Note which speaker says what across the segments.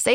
Speaker 1: Say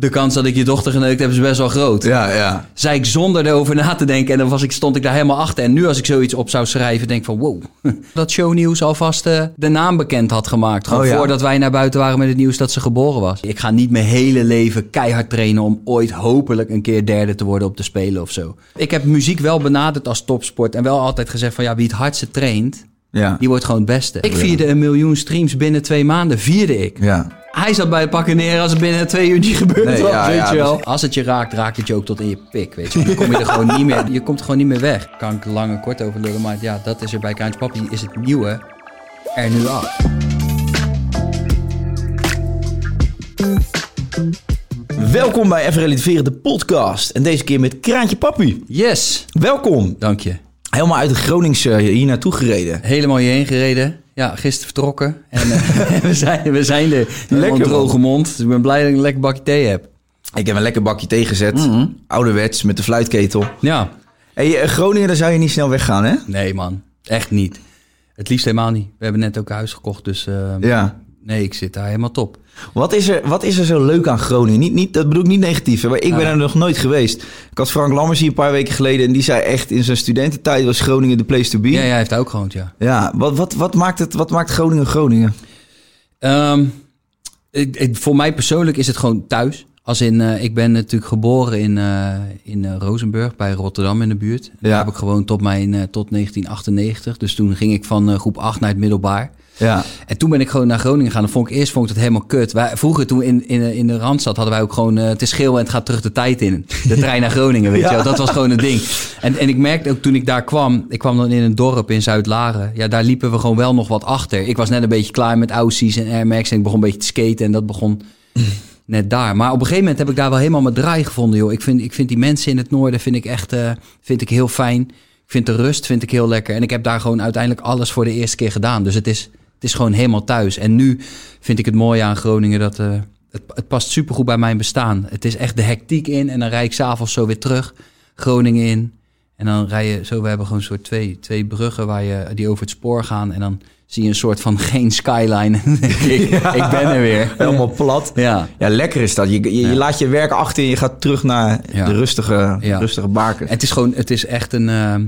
Speaker 2: de kans dat ik je dochter geneukt heb is best wel groot.
Speaker 3: Ja, ja.
Speaker 2: Zei ik zonder erover na te denken en dan was ik, stond ik daar helemaal achter. En nu als ik zoiets op zou schrijven, denk ik van wow. Dat shownieuws alvast eh, de naam bekend had gemaakt. Gewoon
Speaker 3: Oh, ja.
Speaker 2: voordat wij naar buiten waren met het nieuws dat ze geboren was. Ik ga niet mijn hele leven keihard trainen om ooit hopelijk een keer derde te worden op de Spelen of zo. Ik heb muziek wel benaderd als topsport en wel altijd gezegd van ja, wie het hardste traint,
Speaker 3: Ja.
Speaker 2: die wordt gewoon het beste. Ik vierde een miljoen streams binnen twee maanden, vierde ik.
Speaker 3: ja.
Speaker 2: Hij zat bij het pakken neer als het binnen twee uur niet gebeurd
Speaker 3: Nee,
Speaker 2: was,
Speaker 3: ja,
Speaker 2: weet
Speaker 3: ja,
Speaker 2: je wel. dus Als het je raakt, raakt het je ook tot in je pik, weet je. Dan kom je er gewoon niet meer, je komt er gewoon niet meer weg. Kan ik lang en kort over lullen, maar ja, dat is er bij Kraantje Papi, is het nieuwe er nu af.
Speaker 4: Welkom bij Even Relativeren, de podcast. En deze keer met Kraantje Papi.
Speaker 2: Yes,
Speaker 4: Welkom.
Speaker 2: dank je.
Speaker 4: Helemaal uit het Groningse hier naartoe gereden.
Speaker 2: Helemaal hierheen gereden. Ja, gisteren vertrokken. En eh, we, zijn, we zijn er. Helemaal een
Speaker 4: man.
Speaker 2: droge mond. Dus ik ben blij dat ik een lekker bakje thee heb.
Speaker 4: Ik heb een lekker bakje thee gezet. Ouderwets, met de fluitketel.
Speaker 2: Ja.
Speaker 4: hey, eh, Groningen, daar zou je niet snel weggaan, hè?
Speaker 2: Nee man, echt niet. Het liefst helemaal niet. We hebben net ook een huis gekocht, dus eh,
Speaker 4: Ja.
Speaker 2: nee, ik zit daar helemaal top.
Speaker 4: Wat is er, wat is er zo leuk aan Groningen? Niet, niet, dat bedoel ik niet negatief, hè, maar ik ben er nog nooit geweest. Ik had Frank Lammers hier een paar weken geleden... en die zei echt, in zijn studententijd was Groningen de place to be.
Speaker 2: Ja,
Speaker 4: Ja,
Speaker 2: jij heeft daar ook gewoond, ja.
Speaker 4: wat, wat, wat, maakt het, wat maakt Groningen Groningen?
Speaker 2: Ehm, ik, ik- voor mij persoonlijk is het gewoon thuis. Als in, eh, ik ben natuurlijk geboren in, eh, in eh, Rozenburg, bij Rotterdam in de buurt. Daar
Speaker 4: Ja.
Speaker 2: heb ik gewoon tot, mijn, eh, tot 1998. Dus toen ging ik van eh, groep 8 naar het middelbaar.
Speaker 4: Ja,
Speaker 2: En toen ben ik gewoon naar Groningen gegaan. Dan vond ik eerst vond ik dat helemaal kut. Wij, vroeger toen in, in, in de Randstad hadden wij ook gewoon... eh, het is geel en het gaat terug de tijd in. De trein naar Groningen, weet je wel. Dat was gewoon het ding. En, en ik merkte ook toen ik daar kwam... Ik kwam dan in een dorp in Zuid-Laren. Ja, daar liepen we gewoon wel nog wat achter. Ik was net een beetje klaar met Aussies en Air Max. En ik begon een beetje te skaten. En dat begon net daar. Maar op een gegeven moment heb ik daar wel helemaal mijn draai gevonden, joh. Ik vind, ik vind die mensen in het noorden vind ik echt eh, vind ik heel fijn. Ik vind de rust vind ik heel lekker. En ik heb daar gewoon uiteindelijk alles voor de eerste keer gedaan. Dus het is, het is gewoon helemaal thuis. En nu vind ik het mooie aan Groningen dat eh, het, het past supergoed bij mijn bestaan. Het is echt de hectiek in en dan rijd ik s'avonds zo weer terug Groningen in. En dan rij je zo, we hebben gewoon een soort twee, twee bruggen waar je, die over het spoor gaan. En dan zie je een soort van geen skyline. En denk ik, ik ben er weer.
Speaker 4: helemaal plat.
Speaker 2: Ja.
Speaker 4: Ja, lekker is dat. Je, je, je laat je werk achter en je gaat terug naar
Speaker 2: Ja.
Speaker 4: de rustige,
Speaker 2: Ja.
Speaker 4: rustige baken.
Speaker 2: Het is gewoon, het is echt een. ehm,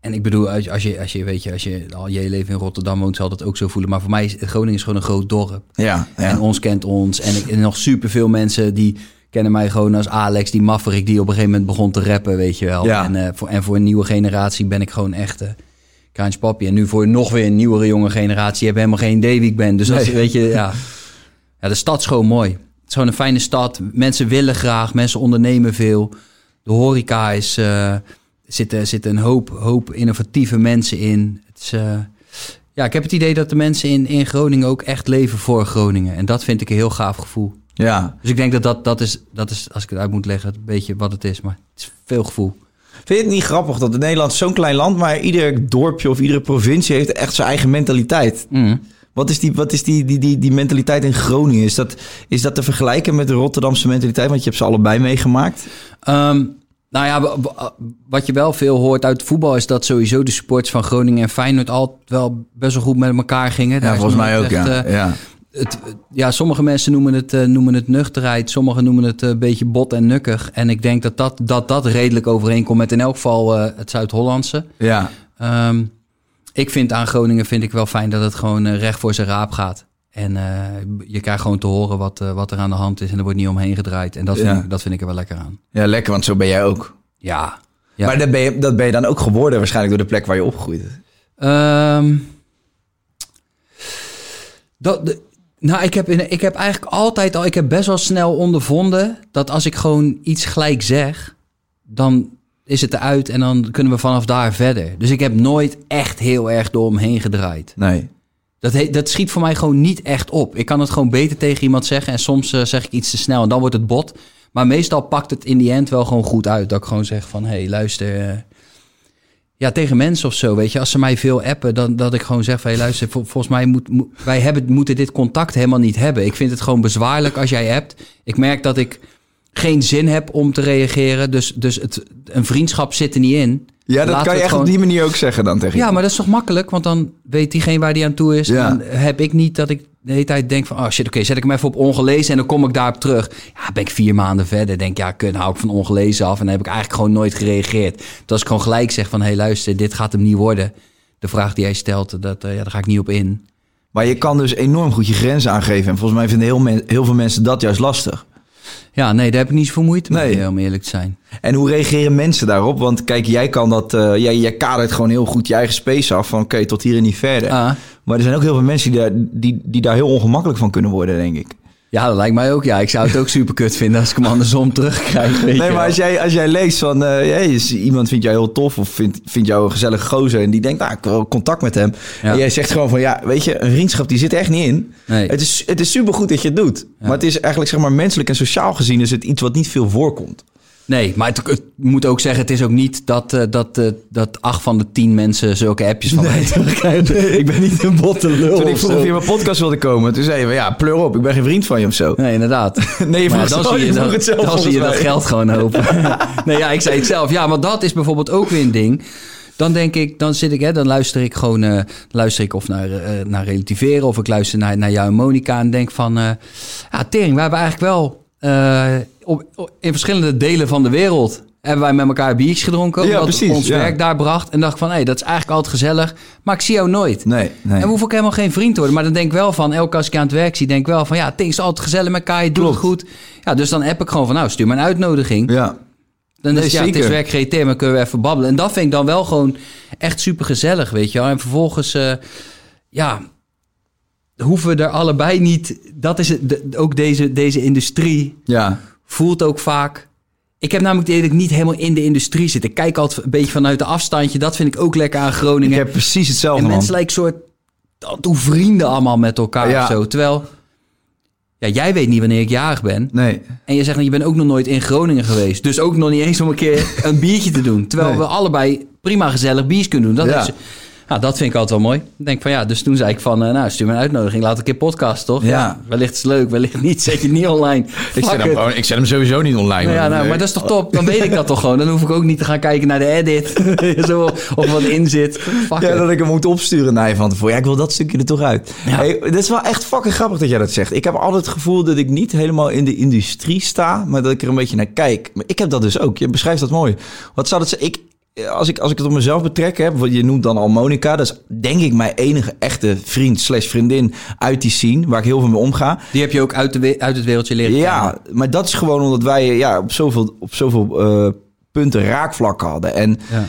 Speaker 2: en ik bedoel, als, als, je, als, je, weet je, als je al je leven in Rotterdam woont, zal dat ook zo voelen. Maar voor mij is Groningen is gewoon een groot dorp.
Speaker 4: ja, ja.
Speaker 2: En ons kent ons. En, ik, en nog superveel mensen die kennen mij gewoon als Alex, die mafferik die op een gegeven moment begon te rappen, weet je wel.
Speaker 4: Ja.
Speaker 2: En, eh, voor, en voor een nieuwe generatie ben ik gewoon echt eh Kraantje Papi. En nu voor nog weer een nieuwere jonge generatie hebben helemaal geen idee wie ik ben. Dus dat, is, weet je, ja. ja. De stad is gewoon mooi. Het is gewoon een fijne stad. Mensen willen graag, mensen ondernemen veel. De horeca is... eh, zitten, zitten een hoop, hoop innovatieve mensen in. Het is, eh, ja, ik heb het idee dat de mensen in, in Groningen ook echt leven voor Groningen. En dat vind ik een heel gaaf gevoel.
Speaker 4: ja.
Speaker 2: Dus ik denk dat dat, dat, is, dat is, als ik het uit moet leggen, een beetje wat het is. Maar het is veel gevoel.
Speaker 4: Vind je het niet grappig dat Nederland is zo'n klein land, maar ieder dorpje of iedere provincie heeft echt zijn eigen mentaliteit? Wat is, die, wat is die, die, die, die mentaliteit in Groningen? Is dat, is dat te vergelijken met de Rotterdamse mentaliteit? Want je hebt ze allebei meegemaakt.
Speaker 2: Ehm, Nou ja, wa- wa- wat je wel veel hoort uit voetbal is dat sowieso de supporters van Groningen en Feyenoord al wel best wel goed met elkaar gingen. Daar
Speaker 4: Ja,
Speaker 2: is
Speaker 4: volgens mij ook,
Speaker 2: nooit echt,
Speaker 4: ja.
Speaker 2: eh,
Speaker 4: ja.
Speaker 2: het, ja, sommige mensen noemen het, eh, noemen het nuchterheid. Sommigen noemen het eh, een beetje bot en nukkig. En ik denk dat dat, dat, dat redelijk overeenkomt met in elk geval eh, het Zuid-Hollandse.
Speaker 4: Ja,
Speaker 2: Ehm, ik vind aan Groningen vind ik wel fijn dat het gewoon eh, recht voor zijn raap gaat. En eh, je krijgt gewoon te horen wat, eh, wat er aan de hand is. En er wordt niet omheen gedraaid. En dat vind,
Speaker 4: Ja.
Speaker 2: ik, dat vind ik er wel lekker aan.
Speaker 4: ja lekker, want zo ben jij ook.
Speaker 2: Ja. ja.
Speaker 4: Maar dat ben, je, dat ben je dan ook geworden waarschijnlijk door de plek waar je opgegroeid bent.
Speaker 2: Ehm, dat, de- nou, ik heb, in- ik heb eigenlijk altijd al, ik heb best wel snel ondervonden dat als ik gewoon iets gelijk zeg, dan is het eruit en dan kunnen we vanaf daar verder. Dus ik heb nooit echt heel erg door hem heen gedraaid.
Speaker 4: Nee.
Speaker 2: Dat, he- dat schiet voor mij gewoon niet echt op. Ik kan het gewoon beter tegen iemand zeggen en soms eh, zeg ik iets te snel en dan wordt het bot. Maar meestal pakt het in die end wel gewoon goed uit. Dat ik gewoon zeg van, hé, hey, luister. eh, ja, tegen mensen of zo, weet je. Als ze mij veel appen, dan dat ik gewoon zeg van, hé, hey, luister. vol- volgens mij moet, moet- wij hebben, moeten dit contact helemaal niet hebben. Ik vind het gewoon bezwaarlijk als jij hebt. Ik merk dat ik geen zin heb om te reageren. Dus, dus het, een vriendschap zit er niet in.
Speaker 4: Ja, dat
Speaker 2: Laten we
Speaker 4: kan
Speaker 2: het
Speaker 4: je echt
Speaker 2: gewoon-
Speaker 4: op die manier ook zeggen dan tegen
Speaker 2: ja,
Speaker 4: iemand.
Speaker 2: maar dat is toch makkelijk? Want dan weet diegene waar die aan toe is.
Speaker 4: Ja.
Speaker 2: Dan heb ik niet dat ik de hele tijd denk van... Oh shit, oké, zet ik hem even op ongelezen en dan kom ik daarop terug. Ja, ben ik vier maanden verder. Denk ja, kun, hou ik van ongelezen af. En dan heb ik eigenlijk gewoon nooit gereageerd. Dus als ik gewoon gelijk zeg van... Hé, hey, luister, dit gaat hem niet worden. De vraag die jij stelt, dat, eh, ja, daar ga ik niet op in.
Speaker 4: Maar je kan dus enorm goed je grenzen aangeven. En volgens mij vinden heel, men- heel veel mensen dat juist lastig.
Speaker 2: Ja, nee, daar heb ik niet zoveel moeite mee, eh,
Speaker 4: Nee.
Speaker 2: om eerlijk te zijn.
Speaker 4: En hoe reageren mensen daarop? Want kijk, jij kan dat. eh, jij, jij kadert gewoon heel goed je eigen space af. Van oké, tot hier en niet verder.
Speaker 2: Ah.
Speaker 4: Maar er zijn ook heel veel mensen die daar, die, die daar heel ongemakkelijk van kunnen worden, denk ik.
Speaker 2: Ja, dat lijkt mij ook. Ja, ik zou het ook super kut vinden als ik hem andersom terugkrijg. Weet
Speaker 4: Nee,
Speaker 2: je
Speaker 4: maar
Speaker 2: wel.
Speaker 4: als jij, als jij leest van eh, hey, is- iemand vindt jou heel tof of vindt, vindt jou een gezellige gozer en die denkt, nou, ik wil contact met hem.
Speaker 2: Ja.
Speaker 4: En jij zegt gewoon van, ja, weet je, een vriendschap die zit er echt niet in.
Speaker 2: Nee.
Speaker 4: Het is, het is supergoed dat je het doet. Maar het is eigenlijk, zeg maar, menselijk en sociaal gezien is het iets wat niet veel voorkomt.
Speaker 2: Nee, maar het, het moet ook zeggen, het is ook niet dat, eh, dat, eh, dat acht van de tien mensen zulke appjes van mij terugkrijgen. ik ben niet een botte lul
Speaker 4: Toen ik
Speaker 2: of
Speaker 4: vroeg
Speaker 2: zo.
Speaker 4: of je in mijn podcast wilde komen, toen zei je, ja, pleur op, ik ben geen vriend van je of zo.
Speaker 2: Nee, inderdaad.
Speaker 4: Nee, je
Speaker 2: Maar
Speaker 4: vroeg het-
Speaker 2: dan
Speaker 4: oh,
Speaker 2: zie
Speaker 4: je
Speaker 2: je,
Speaker 4: vroeg
Speaker 2: dat,
Speaker 4: het zelf
Speaker 2: dan zie
Speaker 4: volgens
Speaker 2: je dat
Speaker 4: mij.
Speaker 2: geld gewoon open. nee, ja, ik zei het zelf. Ja, maar dat is bijvoorbeeld ook weer een ding. Dan denk ik, dan zit ik, hè, dan luister ik gewoon, eh, luister ik of naar, eh, naar relativeren of ik luister naar, naar jou en Monica en denk van, eh ja, Tering, we hebben eigenlijk wel eh, op, op- in verschillende delen van de wereld hebben wij met elkaar biertjes gedronken,
Speaker 4: Ja,
Speaker 2: omdat
Speaker 4: precies,
Speaker 2: ons
Speaker 4: ja.
Speaker 2: werk daar bracht en dacht van, hé, dat is eigenlijk altijd gezellig, maar ik zie jou nooit.
Speaker 4: Nee, nee.
Speaker 2: En we hoeven ook helemaal geen vriend te worden. Maar dan denk ik wel van, elke keer als ik je aan het werk zie, denk ik wel van, ja, Tink is altijd gezellig met elkaar, je doet het goed. Ja, dus dan app ik gewoon van, nou, stuur me een uitnodiging.
Speaker 4: Ja.
Speaker 2: dan is
Speaker 4: nee,
Speaker 2: het, ja, het is
Speaker 4: zeker.
Speaker 2: werk geen thema, dan kunnen we even babbelen. En dat vind ik dan wel gewoon echt super gezellig, weet je wel. En vervolgens, eh, ja, hoeven we er allebei niet, dat is het, de- ook deze, deze industrie
Speaker 4: Ja.
Speaker 2: voelt ook vaak... Ik heb namelijk het idee dat ik niet helemaal in de industrie zit. Ik kijk altijd een beetje vanuit de afstandje. Dat vind ik ook lekker aan Groningen.
Speaker 4: Ik heb precies hetzelfde,
Speaker 2: En
Speaker 4: man.
Speaker 2: mensen lijken soort tattoo vrienden allemaal met elkaar
Speaker 4: Ja.
Speaker 2: of zo. Terwijl, ja, jij weet niet wanneer ik jarig ben.
Speaker 4: Nee.
Speaker 2: En je zegt, nou, je bent ook nog nooit in Groningen geweest. Dus ook nog niet eens om een keer een biertje te doen. Terwijl
Speaker 4: Nee.
Speaker 2: we allebei prima gezellig biertjes kunnen doen. Dat,
Speaker 4: Ja.
Speaker 2: is, ja, dat vind ik altijd wel mooi. Ik denk van ja, dus toen zei ik van, eh, nou stuur me een uitnodiging. Laat een keer podcast, toch?
Speaker 4: Ja.
Speaker 2: wellicht is het leuk, wellicht niet. Zet je niet online. Fuck
Speaker 4: Ik zet, hem,
Speaker 2: it.
Speaker 4: gewoon- ik zet hem sowieso niet online.
Speaker 2: Nou ja,
Speaker 4: man.
Speaker 2: nou,
Speaker 4: Nee.
Speaker 2: maar dat is toch top? Dan weet ik dat toch gewoon. Dan hoef ik ook niet te gaan kijken naar de edit. Zo, of wat in zit. Fuck
Speaker 4: Ja,
Speaker 2: it.
Speaker 4: dat ik hem moet opsturen naar je van tevoren. Ja, ik wil dat stukje er toch uit. Hey, dat is wel echt fucking grappig dat jij dat zegt. Ik heb altijd het gevoel dat ik niet helemaal in de industrie sta, maar dat ik er een beetje naar kijk. Maar ik heb dat dus ook. Je beschrijft dat mooi. Wat zou dat zijn? Ik, als, ik, als ik het op mezelf betrek, hè, wat je noemt dan al Monica. Dat is denk ik mijn enige echte vriend slash vriendin uit die scene, waar ik heel veel mee omga.
Speaker 2: Die heb je ook uit, de, we- uit het wereldje leren kennen.
Speaker 4: Ja, maar dat is gewoon omdat wij eh, ja, op zoveel, op zoveel eh, punten raakvlakken hadden. En
Speaker 2: Ja.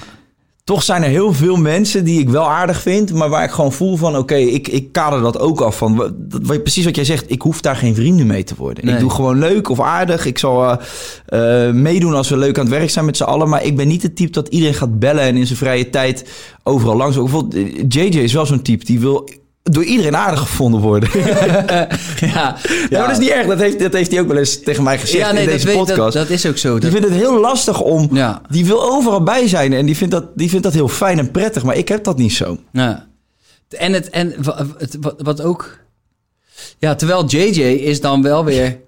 Speaker 4: toch zijn er heel veel mensen die ik wel aardig vind, maar waar ik gewoon voel van, oké, ik, ik kader dat ook af van, wa- dat, wat- precies wat jij zegt, ik hoef daar geen vrienden mee te worden.
Speaker 2: Nee.
Speaker 4: Ik doe gewoon leuk of aardig, ik zal eh, eh, meedoen als we leuk aan het werk zijn met z'n allen, maar ik ben niet het type dat iedereen gaat bellen en in zijn vrije tijd overal langs. Bijvoorbeeld eh, JJ is wel zo'n type, die wil door iedereen aardig gevonden worden. Ja,
Speaker 2: Ja, ja.
Speaker 4: maar dat is niet erg, dat heeft, dat heeft hij ook wel eens tegen mij gezegd
Speaker 2: Ja, nee,
Speaker 4: in
Speaker 2: dat,
Speaker 4: deze
Speaker 2: weet,
Speaker 4: podcast.
Speaker 2: dat, dat is ook zo.
Speaker 4: Die
Speaker 2: Dat,
Speaker 4: vindt het heel lastig om.
Speaker 2: Ja.
Speaker 4: Die wil overal bij zijn. En die vindt, dat, die vindt dat heel fijn en prettig. Maar ik heb dat niet zo.
Speaker 2: ja. En, het, en wa- het, wat, wat ook... Ja, terwijl JJ is dan wel weer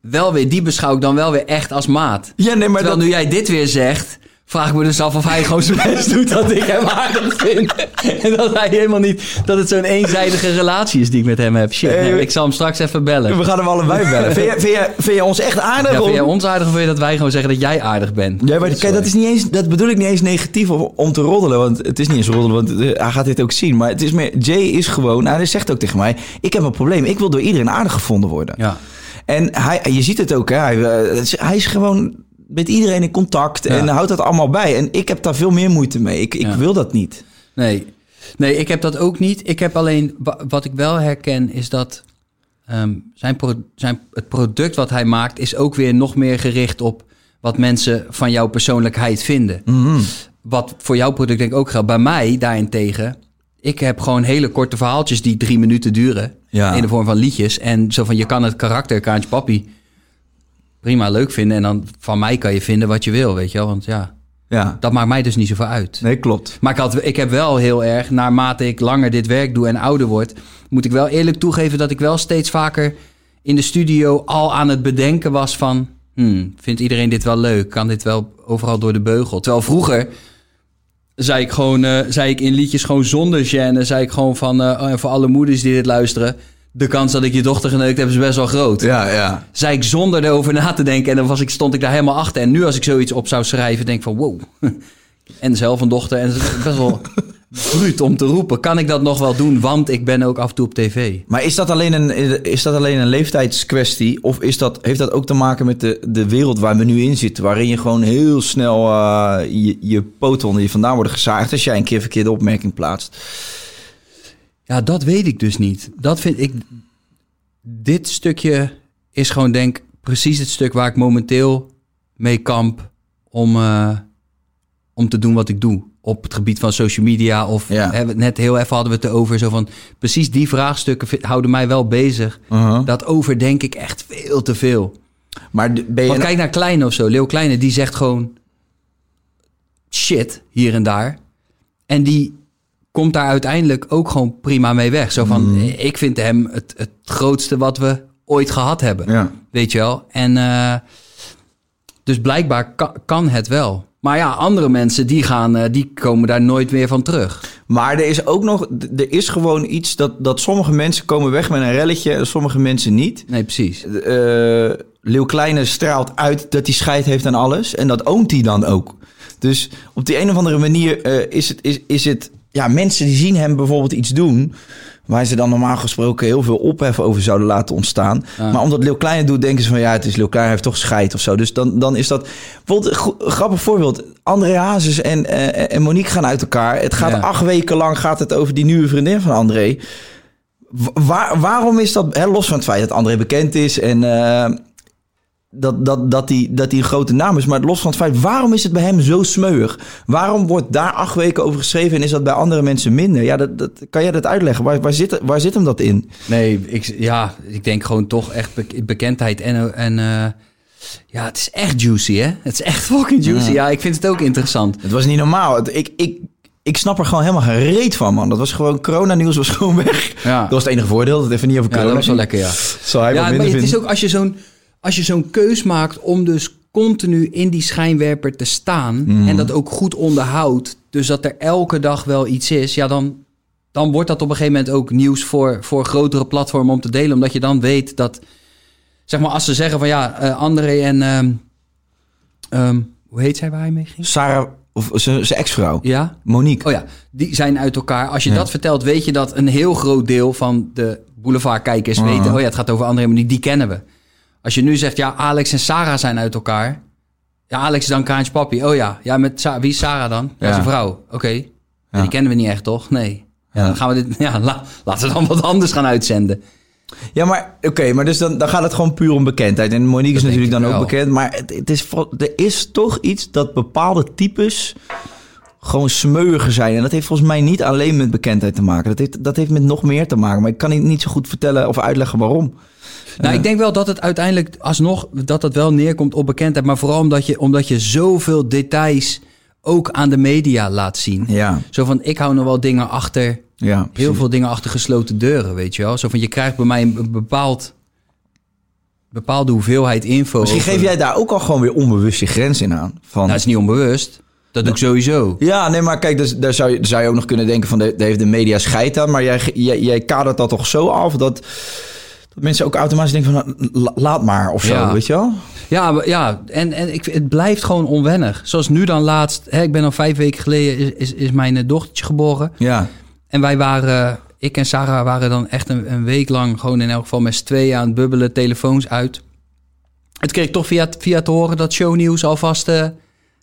Speaker 2: wel weer, die beschouw ik dan wel weer echt als maat.
Speaker 4: Ja, nee, maar
Speaker 2: Terwijl
Speaker 4: dat...
Speaker 2: nu jij dit weer zegt, vraag ik me dus af of hij gewoon zijn best doet dat ik hem aardig vind. en dat hij helemaal niet, dat het zo'n eenzijdige relatie is die ik met hem heb. Shit,
Speaker 4: Eh,
Speaker 2: nee, ik zal hem straks even bellen.
Speaker 4: We gaan hem allebei bellen. vind, jij, vind, jij, vind jij ons echt aardig?
Speaker 2: Ja,
Speaker 4: om-
Speaker 2: vind jij ons aardig of wil je dat wij gewoon zeggen dat jij aardig bent?
Speaker 4: Ja, maar kijk, dat, is niet eens, dat bedoel ik niet eens negatief om, om te roddelen. Want het is niet eens roddelen, want eh, hij gaat dit ook zien. Maar het is meer, Jay is gewoon, nou, hij zegt ook tegen mij... Ik heb een probleem, ik wil door iedereen aardig gevonden worden.
Speaker 2: Ja.
Speaker 4: En hij, je ziet het ook, hè, hij, eh, het is- hij is gewoon met iedereen in contact en
Speaker 2: Ja.
Speaker 4: houdt dat allemaal bij. En ik heb daar veel meer moeite mee. Ik, ik
Speaker 2: Ja.
Speaker 4: wil dat niet.
Speaker 2: Nee. nee, ik heb dat ook niet. Ik heb alleen, wa- wat ik wel herken is dat ehm, zijn pro- zijn, het product wat hij maakt is ook weer nog meer gericht op wat mensen van jouw persoonlijkheid vinden. Wat voor jouw product denk ik ook geldt. Bij mij daarentegen, ik heb gewoon hele korte verhaaltjes die drie minuten duren.
Speaker 4: Ja.
Speaker 2: In de vorm van liedjes. En zo van, je kan het karakter Kaantje Papi prima leuk vinden. En dan van mij kan je vinden wat je wil, weet je wel. Want ja,
Speaker 4: Ja,
Speaker 2: dat maakt mij dus niet zoveel uit.
Speaker 4: nee, klopt.
Speaker 2: Maar ik, had, ik heb wel heel erg, naarmate ik langer dit werk doe en ouder word, moet ik wel eerlijk toegeven dat ik wel steeds vaker in de studio al aan het bedenken was van, hmm, vindt iedereen dit wel leuk? Kan dit wel overal door de beugel? Terwijl vroeger zei ik gewoon, eh, zei ik in liedjes gewoon zonder gêne, zei ik gewoon van, eh, oh, en voor alle moeders die dit luisteren, de kans dat ik je dochter geneukt heb is best wel groot
Speaker 4: Ja, ja.
Speaker 2: zei ik zonder erover na te denken. En dan was ik, stond ik daar helemaal achter. En nu als ik zoiets op zou schrijven, denk ik van wow. En zelf een dochter. En het is best wel bruut om te roepen. Kan ik dat nog wel doen? Want ik ben ook af en toe op tv.
Speaker 4: Maar is dat alleen een, is dat alleen een leeftijdskwestie? Of is dat, heeft dat ook te maken met de, de wereld waar we nu in zitten? Waarin je gewoon heel snel eh, je, je poten onder je vandaan worden gezaagd... als jij een keer verkeerde opmerking plaatst.
Speaker 2: Ja, dat weet ik dus niet. Dat vind ik... Dit stukje is gewoon denk ik, precies het stuk waar ik momenteel mee kamp om, eh, om te doen wat ik doe. Op het gebied van social media of
Speaker 4: Ja.
Speaker 2: hè, net heel even hadden we het erover. Zo van, precies die vraagstukken vi- houden mij wel bezig. Dat overdenk ik echt veel te veel.
Speaker 4: Maar d- ben je...
Speaker 2: Want kijk naar Kleine of zo. Leeuw Kleine, die zegt gewoon shit hier en daar. En die komt daar uiteindelijk ook gewoon prima mee weg. Zo van, ik vind hem het, het grootste wat we ooit gehad hebben.
Speaker 4: Ja.
Speaker 2: Weet je wel? En eh, dus blijkbaar ka- kan het wel. Maar ja, andere mensen die, gaan, eh, die komen daar nooit meer van terug.
Speaker 4: Maar er is ook nog, d- er is gewoon iets dat, dat sommige mensen komen weg met een relletje en sommige mensen niet.
Speaker 2: Nee, precies.
Speaker 4: Eh Leeuw Kleine straalt uit dat hij scheid heeft aan alles en dat oomt hij dan ook. Dus op die een of andere manier eh, is het, is, is het ja, mensen die zien hem bijvoorbeeld iets doen waar ze dan normaal gesproken heel veel ophef over zouden laten ontstaan. Maar omdat Leeuw Kleine doet, denken ze van ja, het is Leeuw Kleine, hij heeft toch scheid of zo. Dus dan, dan is dat, bijvoorbeeld, een go- een grappig voorbeeld, André Hazes en, eh, en Monique gaan uit elkaar. Het gaat
Speaker 2: Ja.
Speaker 4: acht weken lang gaat het over die nieuwe vriendin van André. Wa- waar- waarom is dat, hè, los van het feit dat André bekend is en eh, dat, dat, dat, die, dat die een grote naam is, maar los van het feit, waarom is het bij hem zo smeuig? Waarom wordt daar acht weken over geschreven en is dat bij andere mensen minder? Ja, dat, dat, kan jij dat uitleggen? Waar, waar, zit, waar zit hem dat in?
Speaker 2: Nee, ik, ja, ik denk gewoon toch echt bek- bekendheid. En, en eh, ja, het is echt juicy, hè? Het is echt fucking juicy. Ja, ik vind het ook interessant.
Speaker 4: Het was niet normaal. Het- ik, ik, ik snap er gewoon helemaal geen reet van, man. Dat was gewoon, coronanieuws was gewoon weg.
Speaker 2: Ja.
Speaker 4: Dat was het enige voordeel, dat het even niet over
Speaker 2: Ja,
Speaker 4: corona
Speaker 2: dat was wel
Speaker 4: ging.
Speaker 2: lekker, ja.
Speaker 4: Zal hij
Speaker 2: ja,
Speaker 4: wat
Speaker 2: maar
Speaker 4: minder
Speaker 2: het is
Speaker 4: vinden.
Speaker 2: ook als je zo'n als je zo'n keus maakt om dus continu in die schijnwerper te staan en dat ook goed onderhoudt, dus dat er elke dag wel iets is, ja dan, dan wordt dat op een gegeven moment ook nieuws voor, voor grotere platformen om te delen, omdat je dan weet dat, zeg maar, als ze zeggen van ja, eh, André en ehm, ehm, hoe heet zij waar hij mee ging?
Speaker 4: Sarah, of zijn zijn ex-vrouw,
Speaker 2: Ja,
Speaker 4: Monique.
Speaker 2: Oh ja, die zijn uit elkaar. Als je dat vertelt, weet je dat een heel groot deel van de boulevardkijkers weten... oh ja, het gaat over André en Monique, die kennen we. Als je nu zegt, ja, Alex en Sarah zijn uit elkaar. Ja, Alex is dan Kraantje papi. Oh ja, ja met Sa- wie is Sarah dan? Ja,
Speaker 4: Ja.
Speaker 2: zijn vrouw. Oké, Ja, die kennen we niet echt, toch? Nee. Ja, dan gaan we dit... Ja, la- laten we dan wat anders gaan uitzenden.
Speaker 4: Ja, maar oké, maar dus dan, dan gaat het gewoon puur om bekendheid. En Monique is
Speaker 2: Dat denk
Speaker 4: natuurlijk dan
Speaker 2: ik wel.
Speaker 4: ook bekend. Maar het, het is, vol- er is toch iets dat bepaalde types gewoon smeuiger zijn. En dat heeft volgens mij niet alleen met bekendheid te maken. Dat heeft, dat heeft met nog meer te maken. Maar ik kan niet- niet zo goed vertellen of uitleggen waarom.
Speaker 2: Nou, ik denk wel dat het uiteindelijk alsnog dat het wel neerkomt op bekendheid. Maar vooral omdat je, omdat je zoveel details ook aan de media laat zien.
Speaker 4: Ja,
Speaker 2: Zo van, ik hou nog wel dingen achter,
Speaker 4: ja.
Speaker 2: heel
Speaker 4: precies.
Speaker 2: veel dingen achter gesloten deuren, weet je wel. Zo van, je krijgt bij mij een bepaald bepaalde hoeveelheid info.
Speaker 4: Misschien
Speaker 2: over-
Speaker 4: geef jij daar ook al gewoon weer onbewust je grens in aan. Van,
Speaker 2: Nou, dat is niet onbewust. Dat doe ik
Speaker 4: Nou.
Speaker 2: sowieso.
Speaker 4: Ja, nee, maar kijk, dus, daar, zou je, daar zou je ook nog kunnen denken van... daar daar heeft de media scheid aan. Maar jij, jij, jij kadert dat toch zo af dat, dat mensen ook automatisch denken van... nou, la- laat maar of zo,
Speaker 2: Ja.
Speaker 4: weet je wel?
Speaker 2: Ja, maar- ja en, en ik, het blijft gewoon onwennig. Zoals nu dan laatst. Hè, ik ben al vijf weken geleden is, is, is mijn eh, dochtertje geboren.
Speaker 4: Ja.
Speaker 2: En wij waren, ik en Sarah waren dan echt een, een week lang gewoon in elk geval met z'n tweeën aan het bubbelen, telefoons uit. Het kreeg ik toch via, via te horen dat shownieuws alvast eh,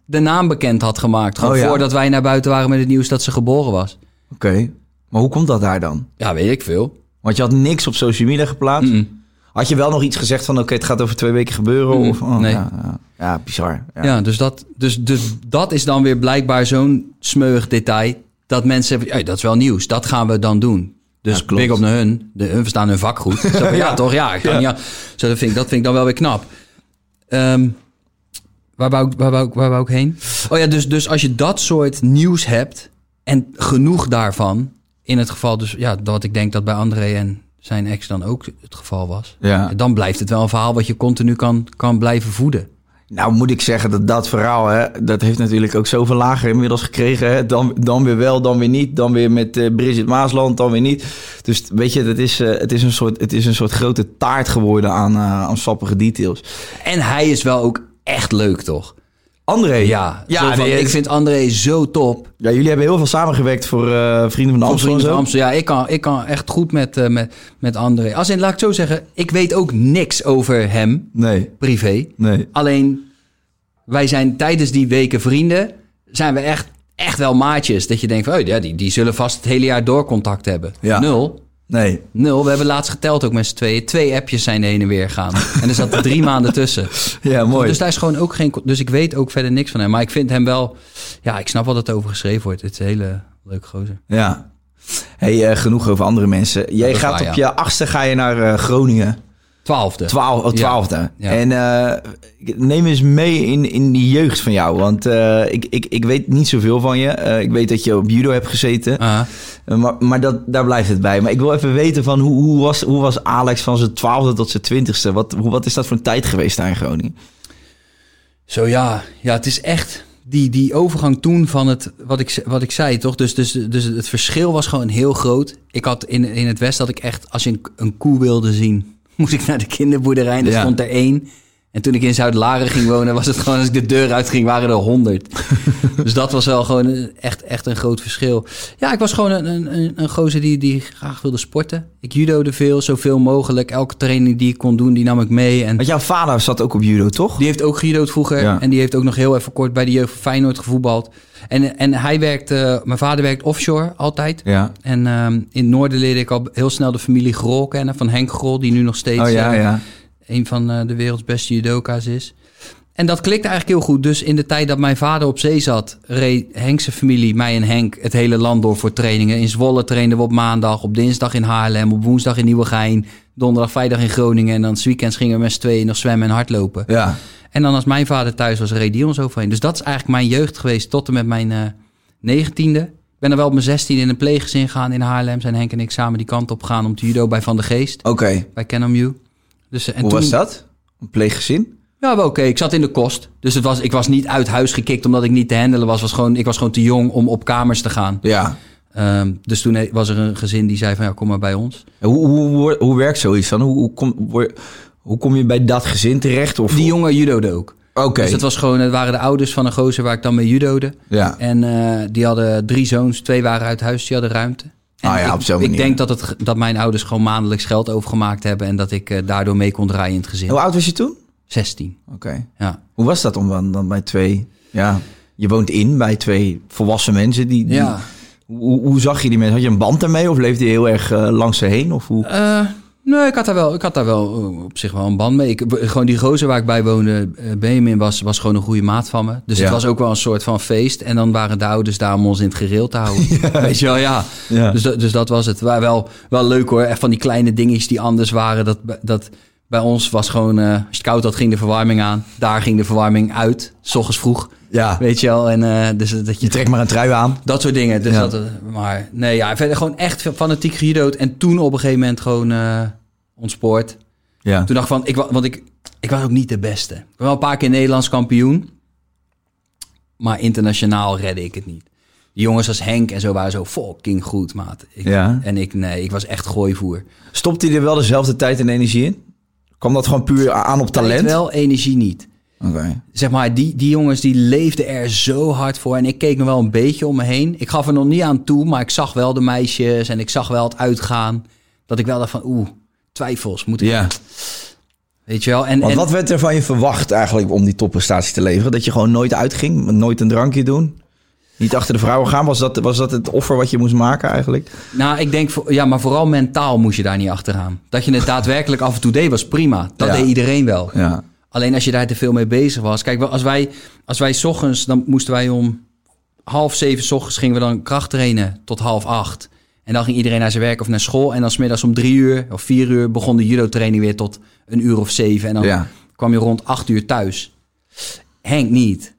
Speaker 2: de naam bekend had gemaakt. Gewoon
Speaker 4: Oh ja.
Speaker 2: voordat wij naar buiten waren met het nieuws dat ze geboren was.
Speaker 4: Oké, maar hoe komt dat daar dan?
Speaker 2: Ja, weet ik veel.
Speaker 4: Want je had niks op social media geplaatst. Had je wel nog iets gezegd van... oké, het gaat over twee weken gebeuren?
Speaker 2: Mm,
Speaker 4: of, oh,
Speaker 2: nee.
Speaker 4: Ja, ja. Ja, bizar. Ja.
Speaker 2: Ja, dus, dat, dus, dus dat is dan weer blijkbaar zo'n smeuig detail. Dat mensen hebben, "Hey, dat is wel nieuws, dat gaan we dan doen. Dus
Speaker 4: Ja, klopt.
Speaker 2: big op naar hun. De, hun verstaan hun vak goed. Zo van, ja, toch? Ja, ik kan niet aan- Zo, dat, vind ik, dat vind ik dan wel weer knap. Ehm, waar, wou ik, waar, wou ik, waar wou ik heen? Oh ja, dus, dus als je dat soort nieuws hebt en genoeg daarvan... in het geval dus, ja, wat ik denk dat bij André en zijn ex dan ook het geval was...
Speaker 4: Ja.
Speaker 2: dan blijft het wel een verhaal wat je continu kan, kan blijven voeden.
Speaker 4: Nou moet ik zeggen dat dat verhaal, hè, dat heeft natuurlijk ook zoveel lager inmiddels gekregen. Hè? Dan, dan weer wel, dan weer niet. Dan weer met eh Bridget Maasland, dan weer niet. Dus t- weet je, dat is, eh, het, is een soort, het is een soort grote taart geworden aan, eh, aan sappige details.
Speaker 2: En hij is wel ook echt leuk, toch?
Speaker 4: André.
Speaker 2: Ja, zo van,
Speaker 4: nee,
Speaker 2: ik
Speaker 4: het-
Speaker 2: vind André zo top.
Speaker 4: ja jullie hebben heel veel samengewerkt voor eh, Vrienden van de Amstel.
Speaker 2: Vrienden van
Speaker 4: en zo.
Speaker 2: Amsterdam. Ja, ik kan, ik kan echt goed met, eh, met, met André. Als in, laat ik het zo zeggen, ik weet ook niks over hem,
Speaker 4: Nee,
Speaker 2: privé.
Speaker 4: nee.
Speaker 2: Alleen, wij zijn tijdens die weken vrienden, zijn we echt, echt wel maatjes. Dat je denkt van, oh, ja, die, die zullen vast het hele jaar door contact hebben.
Speaker 4: Ja.
Speaker 2: Nul.
Speaker 4: Nee.
Speaker 2: Nul, we hebben laatst geteld ook met z'n tweeën. Twee appjes zijn heen en weer gaan. En er zaten drie maanden tussen.
Speaker 4: Ja, mooi.
Speaker 2: Dus daar is gewoon ook geen. Dus ik weet ook verder niks van hem. Maar ik vind hem wel. Ja, ik snap wel dat er over geschreven wordt. Het is een hele leuke gozer.
Speaker 4: Ja. Hey, eh, genoeg over andere mensen. Jij
Speaker 2: Dat is
Speaker 4: gaat
Speaker 2: waar,
Speaker 4: op
Speaker 2: ja.
Speaker 4: je achtste ga je naar eh, Groningen.
Speaker 2: Twaalfde.
Speaker 4: Twaal, oh,
Speaker 2: Ja.
Speaker 4: twaalfde.
Speaker 2: Ja.
Speaker 4: En eh, neem eens mee in, in die jeugd van jou. Want eh, ik, ik, ik weet niet zoveel van je. Eh, ik weet dat je op judo hebt gezeten.
Speaker 2: Ah.
Speaker 4: Eh, maar maar dat, daar blijft het bij. Maar ik wil even weten van hoe, hoe, was, hoe was Alex van zijn twaalfde tot zijn twintigste? Wat, hoe, wat is dat voor een tijd geweest daar in Groningen?
Speaker 2: Zo ja, ja, het is echt die, die overgang toen van het, wat ik, ze- wat ik zei, toch? Dus, dus, dus het verschil was gewoon heel groot. Ik had in, in het West, had ik echt, als je een, een koe wilde zien, moest ik naar de kinderboerderij en er
Speaker 4: Ja.
Speaker 2: stond er één. En toen ik in Zuid-Laren ging wonen, was het gewoon, als ik de deur uitging, waren er honderd. dus dat was wel gewoon een- echt, echt een groot verschil. Ja, ik was gewoon een, een, een, een gozer die, die graag wilde sporten. Ik judode veel, zoveel mogelijk. Elke training die ik kon doen, die nam ik mee. En
Speaker 4: Want jouw vader zat ook op judo, toch?
Speaker 2: die heeft ook gejudo'd vroeger.
Speaker 4: Ja.
Speaker 2: En die heeft ook nog heel even kort bij de jeugd van Feyenoord gevoetbald. En, en hij werkt, eh, mijn vader werkt offshore altijd.
Speaker 4: Ja.
Speaker 2: En ehm, in het noorden leerde ik al heel snel de familie Grol kennen. Van Henk Grol, die nu nog steeds
Speaker 4: Oh ja,
Speaker 2: eh,
Speaker 4: ja.
Speaker 2: een van eh, de werelds beste judoka's is. En dat klikte eigenlijk heel goed. Dus in de tijd dat mijn vader op zee zat, reed Henkse familie, mij en Henk, het hele land door voor trainingen. In Zwolle trainden we op maandag, op dinsdag in Haarlem, op woensdag in Nieuwegein, donderdag, vrijdag in Groningen. En dan 's weekends gingen we met z'n tweeën nog zwemmen en hardlopen.
Speaker 4: Ja.
Speaker 2: En dan als mijn vader thuis was, reed die ons overheen. Dus dat is eigenlijk mijn jeugd geweest tot en met mijn eh, negentiende. ik ben er wel op mijn zestiende in een pleeggezin gegaan in Haarlem. Zijn Henk en ik samen die kant op gegaan om te judo bij Van de Geest,
Speaker 4: Oké.
Speaker 2: bij Kennemew. Dus, eh, en
Speaker 4: Hoe
Speaker 2: toen-
Speaker 4: was dat? Een pleeggezin?
Speaker 2: Ja, wel oké. Ik zat in de kost. Dus het was, ik was niet uit huis gekikt omdat ik niet te handelen was. was gewoon, ik was gewoon te jong om op kamers te gaan.
Speaker 4: Ja.
Speaker 2: Ehm, dus toen he- was er een gezin die zei van ja, kom maar bij ons.
Speaker 4: En Hoe, hoe, hoe, hoe werkt zoiets dan? Hoe, hoe, kom, hoe, hoe kom je bij dat gezin terecht? Of...
Speaker 2: Die jongen judo'de ook.
Speaker 4: Oké.
Speaker 2: Dus dat was gewoon, het waren de ouders van een gozer waar ik dan mee judode.
Speaker 4: Ja.
Speaker 2: En eh, die hadden drie zoons, twee waren uit huis, die hadden ruimte. En
Speaker 4: Ah ja,
Speaker 2: ik,
Speaker 4: op zo'n
Speaker 2: ik
Speaker 4: manier.
Speaker 2: denk dat, het, ge- dat mijn ouders gewoon maandelijks geld overgemaakt hebben en dat ik eh, daardoor mee kon draaien in het gezin.
Speaker 4: Hoe oud was je toen?
Speaker 2: 16.
Speaker 4: Oké.
Speaker 2: Ja.
Speaker 4: Hoe was dat om dan, dan bij twee... Ja, je woont in bij twee volwassen mensen. Die, die-
Speaker 2: Ja.
Speaker 4: hoe, hoe zag je die mensen? Had je een band daarmee of leefde je heel erg eh, langs ze heen? Of hoe?
Speaker 2: Eh, nee, ik had daar wel, ik had daar wel eh, op zich wel een band mee. Ik, w- gewoon die gozer waar ik bij woonde, eh, Benjamin, was, was gewoon een goede maat van me. Dus
Speaker 4: Ja.
Speaker 2: het was ook wel een soort van feest. En dan waren de ouders daar om ons in het gereel te houden. Weet je wel, ja.
Speaker 4: Ja.
Speaker 2: Dus, dat- dus dat was het. Maar wel, wel leuk hoor. Echt van die kleine dingetjes die anders waren. Dat, dat, bij ons was gewoon, eh, als het koud had, ging de verwarming aan. Daar ging de verwarming uit, s ochtends vroeg.
Speaker 4: Ja,
Speaker 2: Weet je wel, en eh, dus dat
Speaker 4: je
Speaker 2: je
Speaker 4: trekt maar een trui aan.
Speaker 2: dat soort dingen. Dus
Speaker 4: Ja.
Speaker 2: dat, eh, maar nee, ja, verder gewoon echt fanatiek gejudo'd. En toen op een gegeven moment gewoon eh, ontspoord.
Speaker 4: Ja.
Speaker 2: Toen dacht ik van, ik, wa- want ik, ik was ook niet de beste. Ik ben wel een paar keer Nederlands kampioen. Maar internationaal redde ik het niet. Die jongens als Henk en zo waren zo fucking goed, maat. Ik-
Speaker 4: Ja.
Speaker 2: En ik, nee, ik was echt gooivoer.
Speaker 4: Stopt hij er wel dezelfde tijd en energie in? Kwam dat gewoon puur aan op talent?
Speaker 2: Tijd wel, energie niet.
Speaker 4: Oké.
Speaker 2: Zeg maar, die, die jongens die leefden er zo hard voor. En ik keek nog wel een beetje om me heen. Ik gaf er nog niet aan toe, maar ik zag wel de meisjes en ik zag wel het uitgaan. Dat ik wel dacht van, oeh, twijfels, moet ik...
Speaker 4: Ja.
Speaker 2: Weet je wel? En,
Speaker 4: Want
Speaker 2: en-
Speaker 4: wat werd er van je verwacht eigenlijk om die topprestatie te leveren? Dat je gewoon nooit uitging, nooit een drankje doen? Niet achter de vrouwen gaan? Was dat, was dat het offer wat je moest maken eigenlijk?
Speaker 2: Nou, ik denk, voor- ja, maar vooral mentaal moest je daar niet achteraan. Dat je het daadwerkelijk af en toe deed, was prima. Dat
Speaker 4: Ja.
Speaker 2: deed iedereen wel.
Speaker 4: Ja.
Speaker 2: Alleen als je daar te veel mee bezig was. Kijk, wel, als wij, als wij 's ochtends, dan moesten wij om half zeven 's ochtends gingen we dan kracht trainen tot half acht. En dan ging iedereen naar zijn werk of naar school. En dan smiddags om drie uur of vier uur begon de judo-training weer tot een uur of zeven. En dan
Speaker 4: Ja.
Speaker 2: kwam je rond acht uur thuis. Henk niet.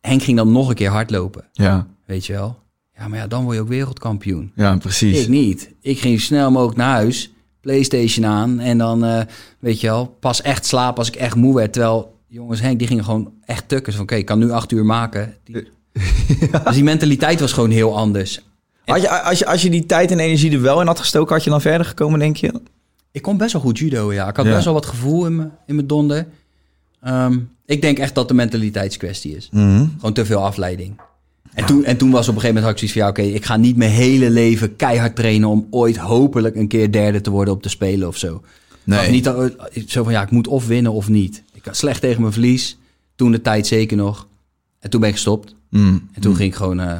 Speaker 2: Henk ging dan nog een keer hardlopen,
Speaker 4: Ja,
Speaker 2: weet je wel. Ja, maar ja, dan word je ook wereldkampioen.
Speaker 4: ja precies.
Speaker 2: Ik niet. Ik ging zo snel mogelijk naar huis, PlayStation aan en dan, eh, weet je wel, pas echt slapen als ik echt moe werd. Terwijl jongens, Henk, die gingen gewoon echt tukken. Van oké, ik kan nu acht uur maken. Die- Dus die mentaliteit was gewoon heel anders.
Speaker 4: Had je, als, je, als je die tijd en energie er wel in had gestoken, had je dan verder gekomen, denk je?
Speaker 2: Ik kon best wel goed judo, ja. Ik had
Speaker 4: Ja.
Speaker 2: best wel wat gevoel in mijn in mijn donder. Ehm, ik denk echt dat de mentaliteitskwestie is.
Speaker 4: Mhm.
Speaker 2: Gewoon te veel afleiding. En toen, en toen was op een gegeven moment had ik zoiets van... ja, oké, ik ga niet mijn hele leven keihard trainen... om ooit hopelijk een keer derde te worden op de Spelen of zo.
Speaker 4: Nee.
Speaker 2: Of niet dat- eh, zo van, ja, ik moet of winnen of niet. Ik had slecht tegen mijn verlies. Toen de tijd zeker nog. En toen ben ik gestopt. En toen ging ik gewoon eh,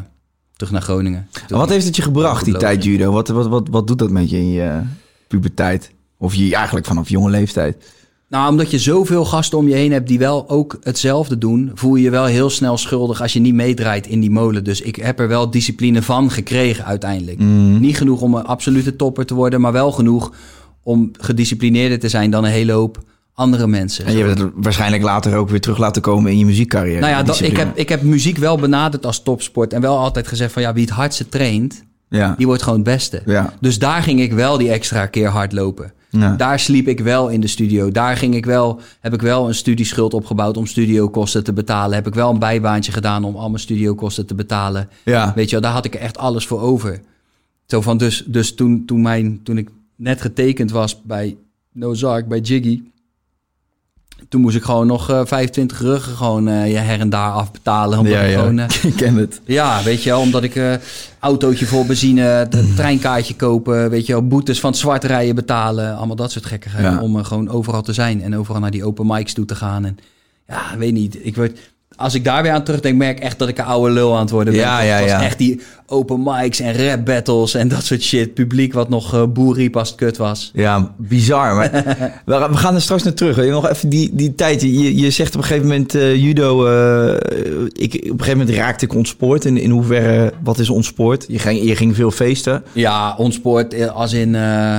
Speaker 2: terug naar Groningen. Toen
Speaker 4: En Mhm. wat
Speaker 2: ging-
Speaker 4: heeft het je gebracht, die
Speaker 2: Lopen.
Speaker 4: tijd judo? Wat, wat, wat, wat doet dat met je in je puberteit? Of je eigenlijk vanaf jonge leeftijd?
Speaker 2: Nou, omdat je zoveel gasten om je heen hebt die wel ook hetzelfde doen, voel je je wel heel snel schuldig als je niet meedraait in die molen. Dus ik heb er wel discipline van gekregen uiteindelijk.
Speaker 4: Mhm.
Speaker 2: Niet genoeg om een absolute topper te worden, maar wel genoeg om gedisciplineerder te zijn dan een hele hoop andere mensen.
Speaker 4: En je hebt het waarschijnlijk later ook weer terug laten komen in je muziekcarrière.
Speaker 2: nou ja, dat, ik,
Speaker 4: discipline.
Speaker 2: heb, ik heb muziek wel benaderd als topsport en wel altijd gezegd van ja, wie het hardste traint,
Speaker 4: Ja.
Speaker 2: die wordt gewoon het beste.
Speaker 4: Ja.
Speaker 2: Dus daar ging ik wel die extra keer hardlopen.
Speaker 4: Ja.
Speaker 2: Daar sliep ik wel in de studio. Daar ging ik wel, heb ik wel een studieschuld opgebouwd om studiokosten te betalen. Heb ik wel een bijbaantje gedaan om al mijn studiokosten te betalen.
Speaker 4: Ja.
Speaker 2: Weet je wel, daar had ik er echt alles voor over. Zo van, dus, dus toen, toen, mijn, toen ik net getekend was bij Nozark, bij Jiggy... toen moest ik gewoon nog eh, 25 ruggen gewoon eh, je her en daar afbetalen. Omdat
Speaker 4: Ja,
Speaker 2: ik
Speaker 4: ja.
Speaker 2: gewoon... eh,
Speaker 4: ik ken het.
Speaker 2: ja, weet je wel, omdat ik eh autootje vol benzine,
Speaker 4: Mm.
Speaker 2: het treinkaartje kopen, weet je wel, boetes van het zwart rijden betalen, allemaal dat soort gekkigheid.
Speaker 4: Ja.
Speaker 2: Om eh, gewoon overal te zijn en overal naar die open mics toe te gaan. En ja, weet niet, ik word, als ik daar weer aan terugdenk, merk ik echt dat ik een oude lul aan het worden ben.
Speaker 4: Ja,
Speaker 2: Dat
Speaker 4: ja,
Speaker 2: was
Speaker 4: ja.
Speaker 2: echt die open mics en rap battles en dat soort shit. Publiek wat nog eh, boer riep als het kut was.
Speaker 4: Ja, bizar. Maar we gaan- we gaan er straks naar terug. hè. Nog even die, die tijd. Je, je zegt op een gegeven moment eh, judo. eh, ik, op een gegeven moment raakte ik ontspoord. In, in hoeverre, wat is ontspoord? Je ging, je ging veel feesten.
Speaker 2: Ja, ontspoord eh, als in... eh,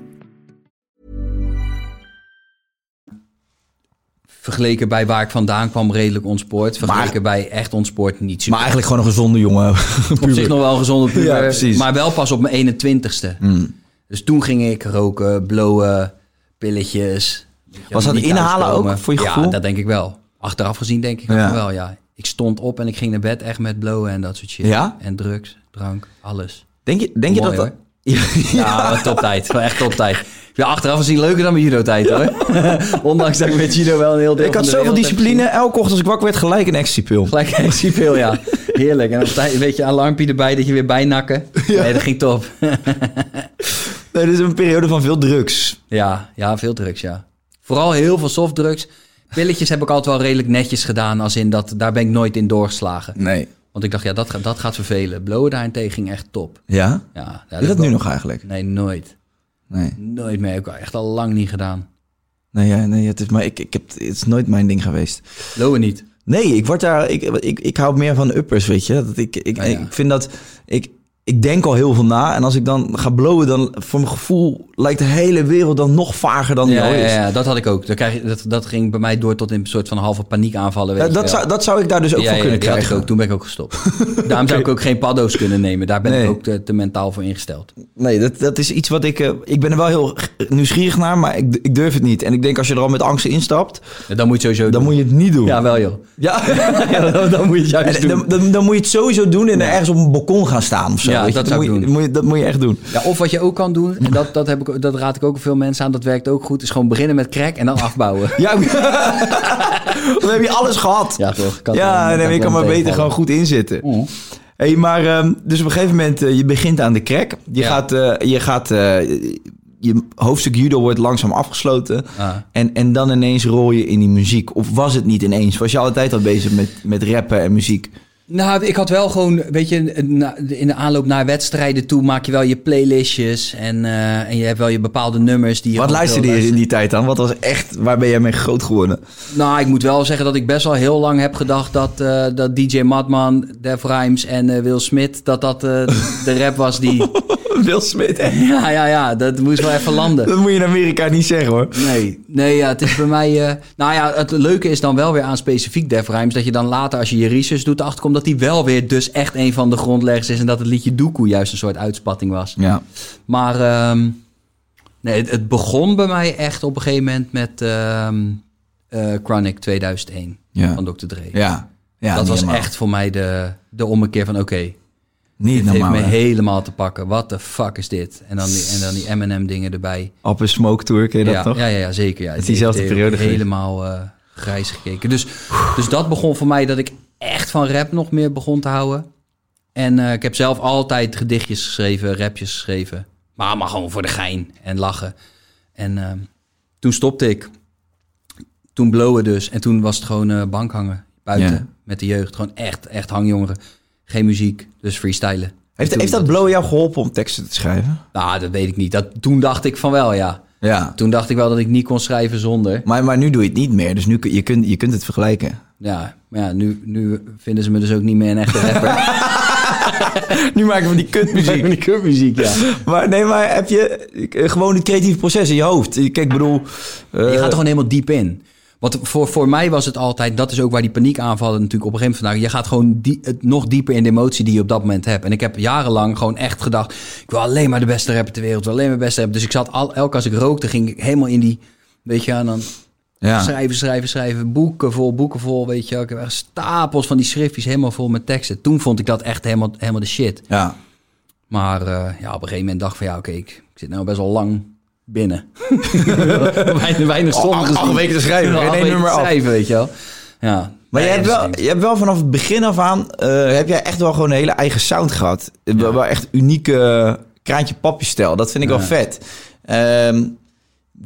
Speaker 2: Vergeleken bij waar ik vandaan kwam, redelijk ontspoord. Vergeleken bij echt ontspoord, niet super.
Speaker 4: Maar eigenlijk gewoon een gezonde jongen.
Speaker 2: op zich nog wel een gezonde puber,
Speaker 4: Ja, precies. Hmm.
Speaker 2: maar wel pas op mijn 21ste. Dus toen ging ik roken, blowen, pilletjes. Weet je,
Speaker 4: Was dat
Speaker 2: niet
Speaker 4: inhalen
Speaker 2: thuiskomen.
Speaker 4: ook, voor je
Speaker 2: Ja,
Speaker 4: gevoel?
Speaker 2: dat denk ik wel. Achteraf gezien denk ik dat
Speaker 4: Ja.
Speaker 2: wel, ja. Ik stond op en ik ging naar bed echt met blowen en dat soort shit.
Speaker 4: Ja?
Speaker 2: En drugs, drank, alles.
Speaker 4: Denk je, denk je
Speaker 2: Mooi,
Speaker 4: dat dat...
Speaker 2: hoor.
Speaker 4: Ja,
Speaker 2: Ja, maar toptijd. Wel Echt toptijd. Ja, achteraf gezien leuker dan mijn judo-tijd, hoor. Ondanks dat ik met judo wel een heel deel
Speaker 4: ik
Speaker 2: van de
Speaker 4: had zoveel
Speaker 2: wereld heb
Speaker 4: discipline. Elke ochtend als ik wakker werd, gelijk een ecstasy-pil.
Speaker 2: Gelijk een veel, ja. Heerlijk. En op tijd, weet je, alarmpje erbij dat je weer bijnakken. Nee, dat ging top.
Speaker 4: Nee, dit is een periode van veel drugs.
Speaker 2: Ja, ja, veel drugs, ja. Vooral heel veel softdrugs. Pilletjes heb ik altijd wel redelijk netjes gedaan, als in dat, daar ben ik nooit in doorgeslagen.
Speaker 4: Nee.
Speaker 2: Want ik dacht, ja, dat, ga- dat gaat vervelen. Blowen daarentegen ging echt top.
Speaker 4: Ja?
Speaker 2: Ja, ja,
Speaker 4: Doe je dat
Speaker 2: wel-
Speaker 4: nu nog eigenlijk?
Speaker 2: Nee, nooit.
Speaker 4: Nee.
Speaker 2: Nooit meer. Ik heb echt al lang niet gedaan.
Speaker 4: Nee, ja, nee het is, maar ik, ik heb, het is nooit mijn ding geweest.
Speaker 2: Lowe niet.
Speaker 4: Nee, ik word daar. Ik, ik, ik hou meer van uppers, weet je. Dat ik, ik,
Speaker 2: Ah, ja.
Speaker 4: ik vind dat. Ik, ik denk al heel veel na. En als ik dan ga blowen, dan voor mijn gevoel lijkt de hele wereld dan nog vager dan die
Speaker 2: Ja,
Speaker 4: al
Speaker 2: ja,
Speaker 4: oh, is.
Speaker 2: ja, dat had ik ook. Dat, krijg, je- dat, dat ging bij mij door tot in een soort van halve paniekaanvallen. Weet
Speaker 4: Ja,
Speaker 2: je
Speaker 4: dat,
Speaker 2: wel.
Speaker 4: zou, dat zou ik daar dus ook
Speaker 2: ja,
Speaker 4: voor
Speaker 2: ja,
Speaker 4: kunnen
Speaker 2: die had ik
Speaker 4: krijgen.
Speaker 2: ook. Toen ben ik ook gestopt. Daarom zou ik ook geen paddo's kunnen nemen. Daar ben
Speaker 4: Nee.
Speaker 2: ik ook te, te mentaal voor ingesteld.
Speaker 4: Nee, dat, dat is iets wat ik. eh, ik ben er wel heel g- nieuwsgierig naar, maar ik, ik durf het niet. En ik denk als je er al met angst instapt,
Speaker 2: Ja, Dan moet je sowieso
Speaker 4: dan
Speaker 2: doen.
Speaker 4: moet je het niet doen.
Speaker 2: Ja, wel joh.
Speaker 4: Ja.
Speaker 2: Ja, dan, dan moet je het juist
Speaker 4: En
Speaker 2: doen.
Speaker 4: dan, dan, dan moet je het sowieso doen en ergens op een balkon gaan staan of zo.
Speaker 2: Ja,
Speaker 4: weet je.
Speaker 2: dat
Speaker 4: Dan
Speaker 2: zou ik
Speaker 4: moet je-
Speaker 2: doen.
Speaker 4: moet je- dat moet je echt doen.
Speaker 2: Ja, of wat je ook kan doen, en dat, dat, heb ik, ook- dat raad ik ook veel mensen aan, dat werkt ook goed, is gewoon beginnen met crack en dan afbouwen.
Speaker 4: Ja, dan heb je alles gehad.
Speaker 2: Ja, toch? Kan
Speaker 4: ja,
Speaker 2: dan-
Speaker 4: nee,
Speaker 2: kan
Speaker 4: je kan
Speaker 2: dan
Speaker 4: maar beter gewoon
Speaker 2: tegenvallen. Mm.
Speaker 4: goed inzitten. Hey, maar ehm, dus op een gegeven moment, eh, je begint aan de crack. Je
Speaker 2: Ja.
Speaker 4: gaat, eh, je, gaat eh, je hoofdstuk judo wordt langzaam afgesloten.
Speaker 2: Ah.
Speaker 4: En, en dan ineens rol je in die muziek. Of was het niet ineens? Was je altijd al bezig met, met rappen en muziek?
Speaker 2: Nou, ik had wel gewoon, weet je, na- in de aanloop naar wedstrijden toe maak je wel je playlistjes en, eh, en je hebt wel je bepaalde nummers die je
Speaker 4: Wat
Speaker 2: gewoon
Speaker 4: luisterde
Speaker 2: wil
Speaker 4: je in
Speaker 2: luisteren.
Speaker 4: die tijd aan? Wat was echt, waar ben jij mee groot geworden?
Speaker 2: Nou, ik moet wel zeggen dat ik best wel heel lang heb gedacht dat, eh, dat DJ Madman, Def Rhymes en eh, Will Smith, dat dat eh, de rap was die...
Speaker 4: Will Smith, hè?
Speaker 2: Ja, ja, ja, dat moest wel even landen.
Speaker 4: Dat moet je in Amerika niet zeggen hoor.
Speaker 2: Nee, nee ja, het is bij mij... eh, nou ja, het leuke is dan wel weer aan specifiek Def Rhymes... dat je dan later, als je je research doet, erachter komt... dat hij wel weer dus echt een van de grondleggers is... en dat het liedje Doekoe juist een soort uitspatting was.
Speaker 4: Ja.
Speaker 2: Maar ehm, nee, het, het begon bij mij echt op een gegeven moment met ehm, eh, Chronic 2001
Speaker 4: Ja.
Speaker 2: van Dr. Dre.
Speaker 4: Ja. ja
Speaker 2: dat
Speaker 4: niet
Speaker 2: was
Speaker 4: normaal.
Speaker 2: echt voor mij de, de ommekeer van... oké,
Speaker 4: niet
Speaker 2: dit heeft
Speaker 4: normaal.
Speaker 2: me
Speaker 4: hè?
Speaker 2: helemaal te pakken. What the fuck is dit? En dan die, en dan die Eminem dingen erbij.
Speaker 4: Op een smoke tour, ken je
Speaker 2: ja,
Speaker 4: dat toch?
Speaker 2: Ja, ja, ja, zeker. Ja. Het
Speaker 4: is diezelfde periode geweest.
Speaker 2: Helemaal eh, grijs gekeken. Dus, dus dat begon voor mij dat ik echt van rap nog meer begon te houden. En eh, ik heb zelf altijd gedichtjes geschreven, rapjes geschreven. Maar, maar gewoon voor de gein en lachen. En eh, toen stopte ik. Toen blowen dus. En toen was het gewoon eh, bankhangen buiten
Speaker 4: Ja.
Speaker 2: met de jeugd. Gewoon echt, echt hangjongeren. Geen muziek, dus freestylen.
Speaker 4: Heeft,
Speaker 2: En toen-
Speaker 4: heeft dat blow jou geholpen om teksten te schrijven?
Speaker 2: Nou, dat weet ik niet. Dat, toen dacht ik van wel, ja.
Speaker 4: Ja.
Speaker 2: Toen dacht ik wel dat ik niet kon schrijven zonder.
Speaker 4: Maar, maar nu doe je het niet meer, dus nu kun, je, kunt, je kunt het vergelijken.
Speaker 2: Ja, maar ja, nu, nu vinden ze me dus ook niet meer een echte rapper.
Speaker 4: Nu maken we die kutmuziek.
Speaker 2: die muziek, ja.
Speaker 4: maar nee, maar heb je eh, gewoon het creatieve proces in je hoofd? Kijk, ik bedoel... eh,
Speaker 2: Je gaat er gewoon helemaal diep in. Want voor, voor mij was het altijd, dat is ook waar die paniekaanvallen natuurlijk op een gegeven moment vandaan. Je gaat gewoon die, het nog dieper in de emotie die je op dat moment hebt. En ik heb jarenlang gewoon echt gedacht, ik wil alleen maar de beste rapper ter wereld, ik wil alleen maar de beste rapper. Dus ik zat al, elke als ik rookte, ging ik helemaal in die, weet je, en dan
Speaker 4: ja.
Speaker 2: schrijven, schrijven, schrijven, boeken vol, boeken vol, weet je. wel. Ik heb echt stapels van die schriftjes helemaal vol met teksten. Toen vond ik dat echt helemaal, helemaal de shit.
Speaker 4: ja.
Speaker 2: Maar eh, ja, op een gegeven moment dacht ik van ja, oké, ik, ik zit nou best wel lang binnen. weinig weinig
Speaker 4: Al-
Speaker 2: zon
Speaker 4: al-
Speaker 2: gezien.
Speaker 4: acht weken te schrijven,
Speaker 2: Ja,
Speaker 4: geen
Speaker 2: acht
Speaker 4: één
Speaker 2: weken
Speaker 4: nummer
Speaker 2: te
Speaker 4: af.
Speaker 2: schrijven, weet je wel. Ja.
Speaker 4: Maar
Speaker 2: Ja,
Speaker 4: je, hebt
Speaker 2: dus
Speaker 4: wel,
Speaker 2: ik denk-
Speaker 4: je hebt wel vanaf het begin af aan... eh, heb jij echt wel gewoon een hele eigen sound gehad. Eh, wel- Wel echt unieke eh, kraantje papje stijl. Dat vind ik wel vet. Ehm,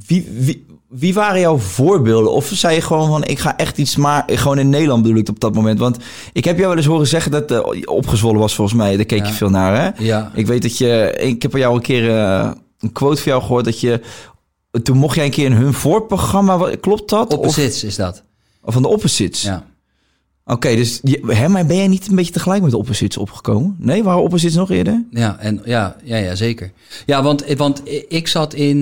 Speaker 4: wie, wie, wie waren jouw voorbeelden? Of zei je gewoon van... Ik ga echt iets maar... Gewoon in Nederland bedoel ik het op dat moment. Want ik heb jou wel eens horen zeggen dat... eh, opgezwollen was volgens mij. Daar keek je
Speaker 2: Ja.
Speaker 4: veel naar hè?
Speaker 2: Ja.
Speaker 4: Ik weet dat je... Ik heb van jou een keer eh, een quote van jou gehoord dat je... Toen mocht jij een keer in hun voorprogramma, klopt dat? Of,
Speaker 2: Opposites is dat.
Speaker 4: of van de opposites?
Speaker 2: Ja.
Speaker 4: Oké, dus je, hè, maar ben jij niet een beetje tegelijk met de opposites opgekomen? Nee, waren opposites nog eerder?
Speaker 2: Ja, en, ja, ja, ja, zeker. Ja, want, want ik zat in...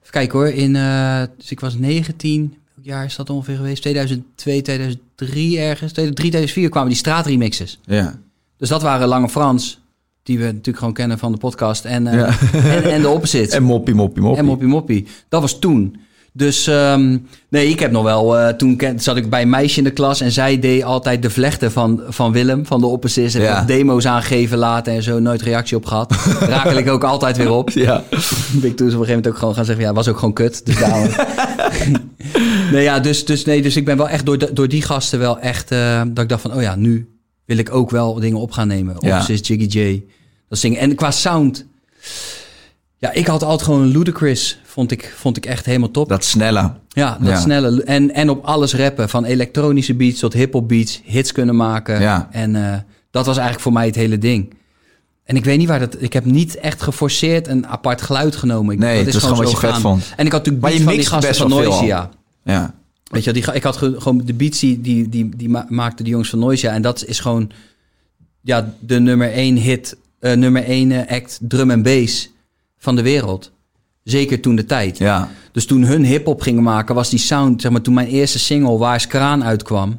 Speaker 2: Even kijken hoor, in, eh, dus ik was 19. Welk jaar is dat ongeveer geweest? 2002, 2003 ergens. 2003, 2004 kwamen die straatremixes.
Speaker 4: Ja.
Speaker 2: Dus dat waren Lange Frans, die we natuurlijk gewoon kennen van de podcast. En, eh,
Speaker 4: Ja.
Speaker 2: en, en de opposites.
Speaker 4: En moppie, moppie, moppie.
Speaker 2: En Moppie Moppie. Dat was toen. Dus ehm, nee, ik heb nog wel... eh, toen ken- zat ik bij een meisje in de klas en zij deed altijd de vlechten van, van Willem, van de opposites. En
Speaker 4: Ja.
Speaker 2: demo's aangeven laten en zo, nooit reactie op gehad. Rakel ik ook altijd weer op.
Speaker 4: Ja.
Speaker 2: Ben ik toen ze op een gegeven moment ook gewoon gaan zeggen, ja, was ook gewoon kut. Dus daarom. nee, ja, dus, dus, nee, dus ik ben wel echt door, de- door die gasten wel echt, eh, dat ik dacht van, oh ja, nu wil ik ook wel dingen op gaan nemen.
Speaker 4: Ja.
Speaker 2: Of is Jiggy J, dat zingen. En qua sound, ja, ik had altijd gewoon Ludacris, vond ik, vond ik echt helemaal top.
Speaker 4: Dat snelle.
Speaker 2: ja, dat
Speaker 4: ja.
Speaker 2: snelle. En, en op alles rappen, van elektronische beats tot hip-hop beats, hits kunnen maken.
Speaker 4: Ja.
Speaker 2: En eh, dat was eigenlijk voor mij het hele ding. En ik weet niet waar dat... Ik heb niet echt geforceerd een apart geluid genomen. Ik,
Speaker 4: Nee,
Speaker 2: dat
Speaker 4: het was gewoon
Speaker 2: zo
Speaker 4: wat je vet
Speaker 2: gegaan.
Speaker 4: vond.
Speaker 2: En ik had natuurlijk
Speaker 4: Maar
Speaker 2: beats
Speaker 4: je
Speaker 2: van die
Speaker 4: mixt
Speaker 2: gasten
Speaker 4: best
Speaker 2: van
Speaker 4: wel veel al.
Speaker 2: Noisia.
Speaker 4: Ja.
Speaker 2: Weet je wel, die, ga- ik had ge- gewoon de beats die, die, die, die ma- maakte de jongens van Noisia. En dat is gewoon ja, de nummer één hit, eh, nummer één eh, act drum en bass van de wereld. Zeker toen de tijd.
Speaker 4: Ja.
Speaker 2: Dus toen hun hip-hop gingen maken, was die sound, zeg maar, toen mijn eerste single Waar is Kraan uitkwam,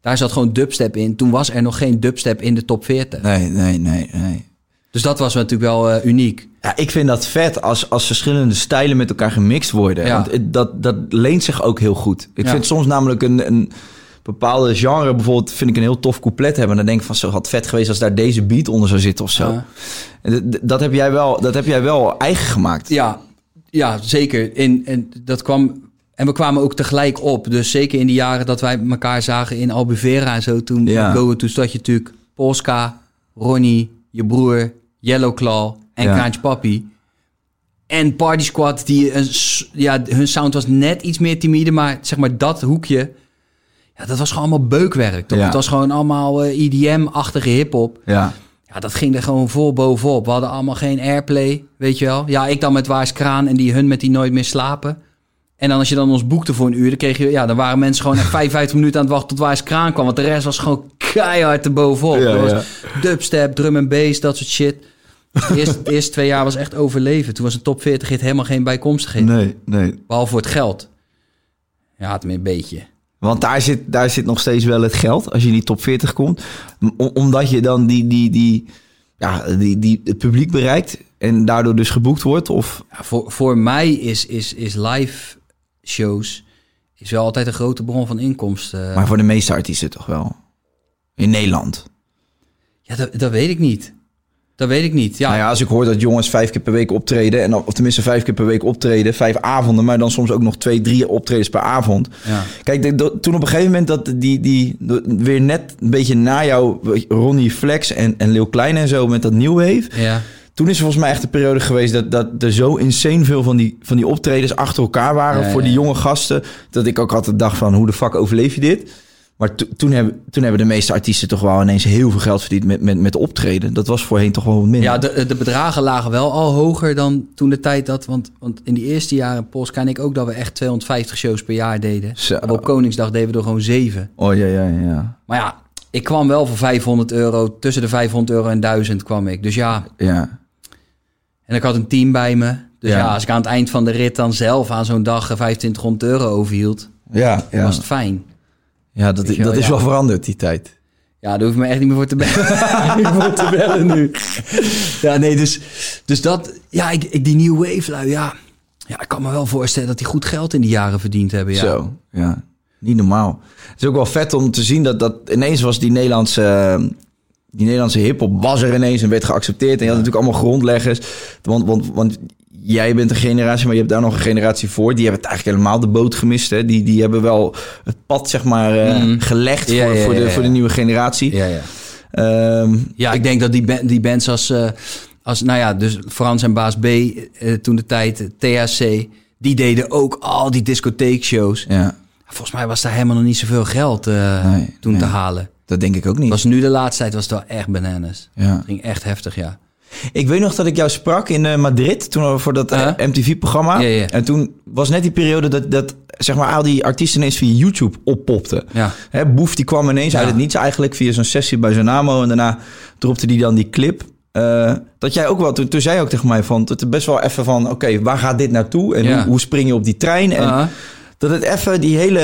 Speaker 2: daar zat gewoon dubstep in. Toen was er nog geen dubstep in de top 40.
Speaker 4: Nee, nee, nee, nee.
Speaker 2: Dus dat was natuurlijk wel eh, uniek.
Speaker 4: Ja, ik vind dat vet als, als verschillende stijlen met elkaar gemixt worden.
Speaker 2: Ja.
Speaker 4: Want het- dat, dat leent zich ook heel goed. Ik
Speaker 2: Ja.
Speaker 4: vind soms namelijk een, een bepaalde genre, bijvoorbeeld, vind ik een heel tof couplet hebben. En dan denk ik van, zo had vet geweest als daar deze beat onder zou zitten of zo.
Speaker 2: Ja.
Speaker 4: En d- d- dat, heb jij wel, dat heb jij wel eigen gemaakt.
Speaker 2: Ja, ja zeker. En, en dat kwam. En we kwamen ook tegelijk op. Dus zeker in die jaren dat wij elkaar zagen in Albuvera en zo. Toen
Speaker 4: Ja.
Speaker 2: Go, toen zat je natuurlijk Polska, Ronnie, je broer, Yellow Claw en
Speaker 4: Ja.
Speaker 2: Kraantje Papi. En Party Squad, die een, s- ja, hun sound was net iets meer timide, maar zeg maar dat hoekje, ja, dat was gewoon allemaal beukwerk. Toch?
Speaker 4: Ja.
Speaker 2: Het was gewoon allemaal eh, EDM-achtige hip-hop.
Speaker 4: Ja.
Speaker 2: Ja, dat ging er gewoon vol bovenop. We hadden allemaal geen airplay, weet je wel. Ja, ik dan met Waars Kraan en die hun met die Nooit meer slapen. En dan als je dan ons boekte voor een uur, dan, kreeg je, ja, dan waren mensen gewoon echt 55 minuten aan het wachten tot Waars Kraan kwam. Want de rest was gewoon keihard erbovenop.
Speaker 4: Ja,
Speaker 2: Er was
Speaker 4: ja.
Speaker 2: Dubstep, drum en bass, dat soort shit. Eerst, de eerste twee jaar was echt overleven. Toen was een top 40 hit helemaal geen bijkomstigheid.
Speaker 4: Nee, nee.
Speaker 2: Behalve voor het geld. Ja, het een beetje.
Speaker 4: Want daar zit, daar zit nog steeds wel het geld als je in die top 40 komt. Om- omdat je dan die, die, die, ja, die, die, het publiek bereikt en daardoor dus geboekt wordt. Of,
Speaker 2: Ja, voor, voor mij is, is, is live shows is wel altijd een grote bron van inkomsten.
Speaker 4: maar voor de meeste artiesten toch wel. In Nederland.
Speaker 2: Ja, dat, dat weet ik niet. Dat weet ik niet. Ja,
Speaker 4: Nou ja, als ik hoor dat jongens vijf keer per week optreden. En, dan- of tenminste vijf keer per week optreden. Vijf avonden, maar dan soms ook nog twee, drie optredens per avond.
Speaker 2: Ja.
Speaker 4: Kijk, de- de- toen op een gegeven moment dat die, die de- weer net een beetje na jou... Ronnie Flex en, en Leeuw Klein en zo met dat New Wave.
Speaker 2: ja.
Speaker 4: Toen is er volgens mij echt de periode geweest dat, dat er zo insane veel van die, van die optredens achter elkaar waren
Speaker 2: Ja,
Speaker 4: voor
Speaker 2: ja.
Speaker 4: die jonge gasten. Dat ik ook altijd dacht van hoe de fuck overleef je dit? Maar to- toen, hebben, toen hebben de meeste artiesten toch wel ineens heel veel geld verdiend met, met, met optreden. Dat was voorheen toch wel wat minder.
Speaker 2: ja de, de bedragen lagen wel al hoger dan toen de tijd dat... Want, want in die eerste jaren, Polska en ik ook, dat we echt 250 shows per jaar deden.
Speaker 4: Zo.
Speaker 2: Maar op Koningsdag deden we er gewoon zeven.
Speaker 4: Oh ja, ja, ja.
Speaker 2: Maar ja, ik kwam wel voor 500 euro. Tussen de 500 euro en 1000 kwam ik. Dus ja,
Speaker 4: Ja,
Speaker 2: en ik had een team bij me. Dus ja,
Speaker 4: Ja.
Speaker 2: als ik aan het eind van de rit dan zelf aan zo'n dag eh, 2500 euro overhield...
Speaker 4: ja, ja.
Speaker 2: was het fijn.
Speaker 4: ja dat,
Speaker 2: Weet je wel,
Speaker 4: dat is
Speaker 2: ja.
Speaker 4: wel veranderd die tijd.
Speaker 2: Ja, daar hoef je me echt niet meer voor te bellen. ik word te bellen nu. Ja, nee, dus, dus dat... Ja, ik, ik, die New Wave, lui, ja. Ja, ik kan me wel voorstellen dat die goed geld in die jaren verdiend hebben, ja.
Speaker 4: Zo, ja. Niet normaal. Het is ook wel vet om te zien dat, dat ineens was die Nederlandse... eh, Die Nederlandse hiphop was er ineens en werd geaccepteerd. En je had natuurlijk allemaal grondleggers. Want, want, want jij bent een generatie, maar je hebt daar nog een generatie voor. Die hebben het eigenlijk helemaal de boot gemist. Hè? Die, die hebben wel het pad, zeg maar, eh, gelegd
Speaker 2: Mm. Ja,
Speaker 4: voor,
Speaker 2: ja,
Speaker 4: voor,
Speaker 2: ja,
Speaker 4: de,
Speaker 2: ja.
Speaker 4: voor de nieuwe generatie.
Speaker 2: Ja, ja.
Speaker 4: Ehm,
Speaker 2: Ja, ik denk dat die, ba- die bands als, eh, als... Nou ja, dus Frans en Baas B eh, toen de tijd, eh, THC... Die deden ook al die discotheekshows.
Speaker 4: ja,
Speaker 2: Volgens mij was daar helemaal nog niet zoveel geld eh,
Speaker 4: Nee,
Speaker 2: toen te
Speaker 4: nee.
Speaker 2: halen.
Speaker 4: dat denk ik ook niet.
Speaker 2: Was nu de laatste tijd was het wel echt bananas.
Speaker 4: Ja.
Speaker 2: Het ging echt heftig, ja.
Speaker 4: Ik weet nog dat ik jou sprak in eh, Madrid toen we voor dat eh,
Speaker 2: Ja.
Speaker 4: MTV-programma.
Speaker 2: Ja, ja.
Speaker 4: En toen was net die periode dat, dat zeg maar, al die artiesten ineens via YouTube oppopten.
Speaker 2: Ja.
Speaker 4: Hè, Boef die kwam ineens
Speaker 2: Ja.
Speaker 4: uit het niets eigenlijk via zo'n sessie bij Zonamo. En daarna dropte die dan die clip. Eh, dat jij ook wel, toen, toen zei je ook tegen mij van, dat het best wel even van, oké, waar gaat dit naartoe? En
Speaker 2: Ja.
Speaker 4: hoe, hoe spring je op die trein? En
Speaker 2: Ah.
Speaker 4: dat het even die hele.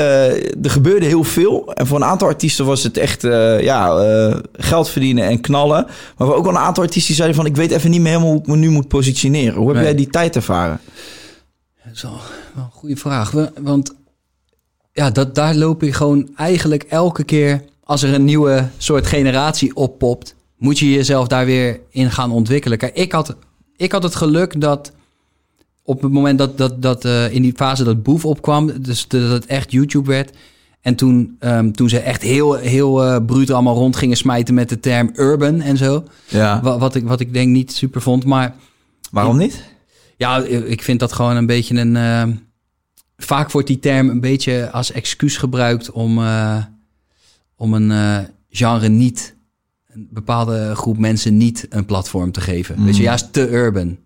Speaker 4: Er gebeurde heel veel. En voor een aantal artiesten was het echt eh, ja, eh, geld verdienen en knallen. Maar voor ook wel een aantal artiesten die zeiden van ik weet even niet meer helemaal hoe ik me nu moet positioneren. Hoe heb
Speaker 2: Nee.
Speaker 4: jij die tijd ervaren?
Speaker 2: Dat is wel, wel een goede vraag. We- Want ja, dat, daar loop je gewoon eigenlijk elke keer als er een nieuwe soort generatie oppopt, moet je jezelf daar weer in gaan ontwikkelen. Kijk, ik had, ik had het geluk dat op het moment dat, dat, dat eh, in die fase dat Boef opkwam, dus dat het echt YouTube werd. En toen, ehm, toen ze echt heel, heel eh bruut allemaal rond gingen smijten met de term urban en zo.
Speaker 4: Ja.
Speaker 2: Wa- Wat ik, wat ik denk niet super vond. Maar
Speaker 4: Waarom niet?
Speaker 2: ja, ik vind dat gewoon een beetje een. eh, vaak wordt die term een beetje als excuus gebruikt om, eh, om een eh, genre niet een bepaalde groep mensen niet een platform te geven.
Speaker 4: Mm.
Speaker 2: Weet je, juist te urban.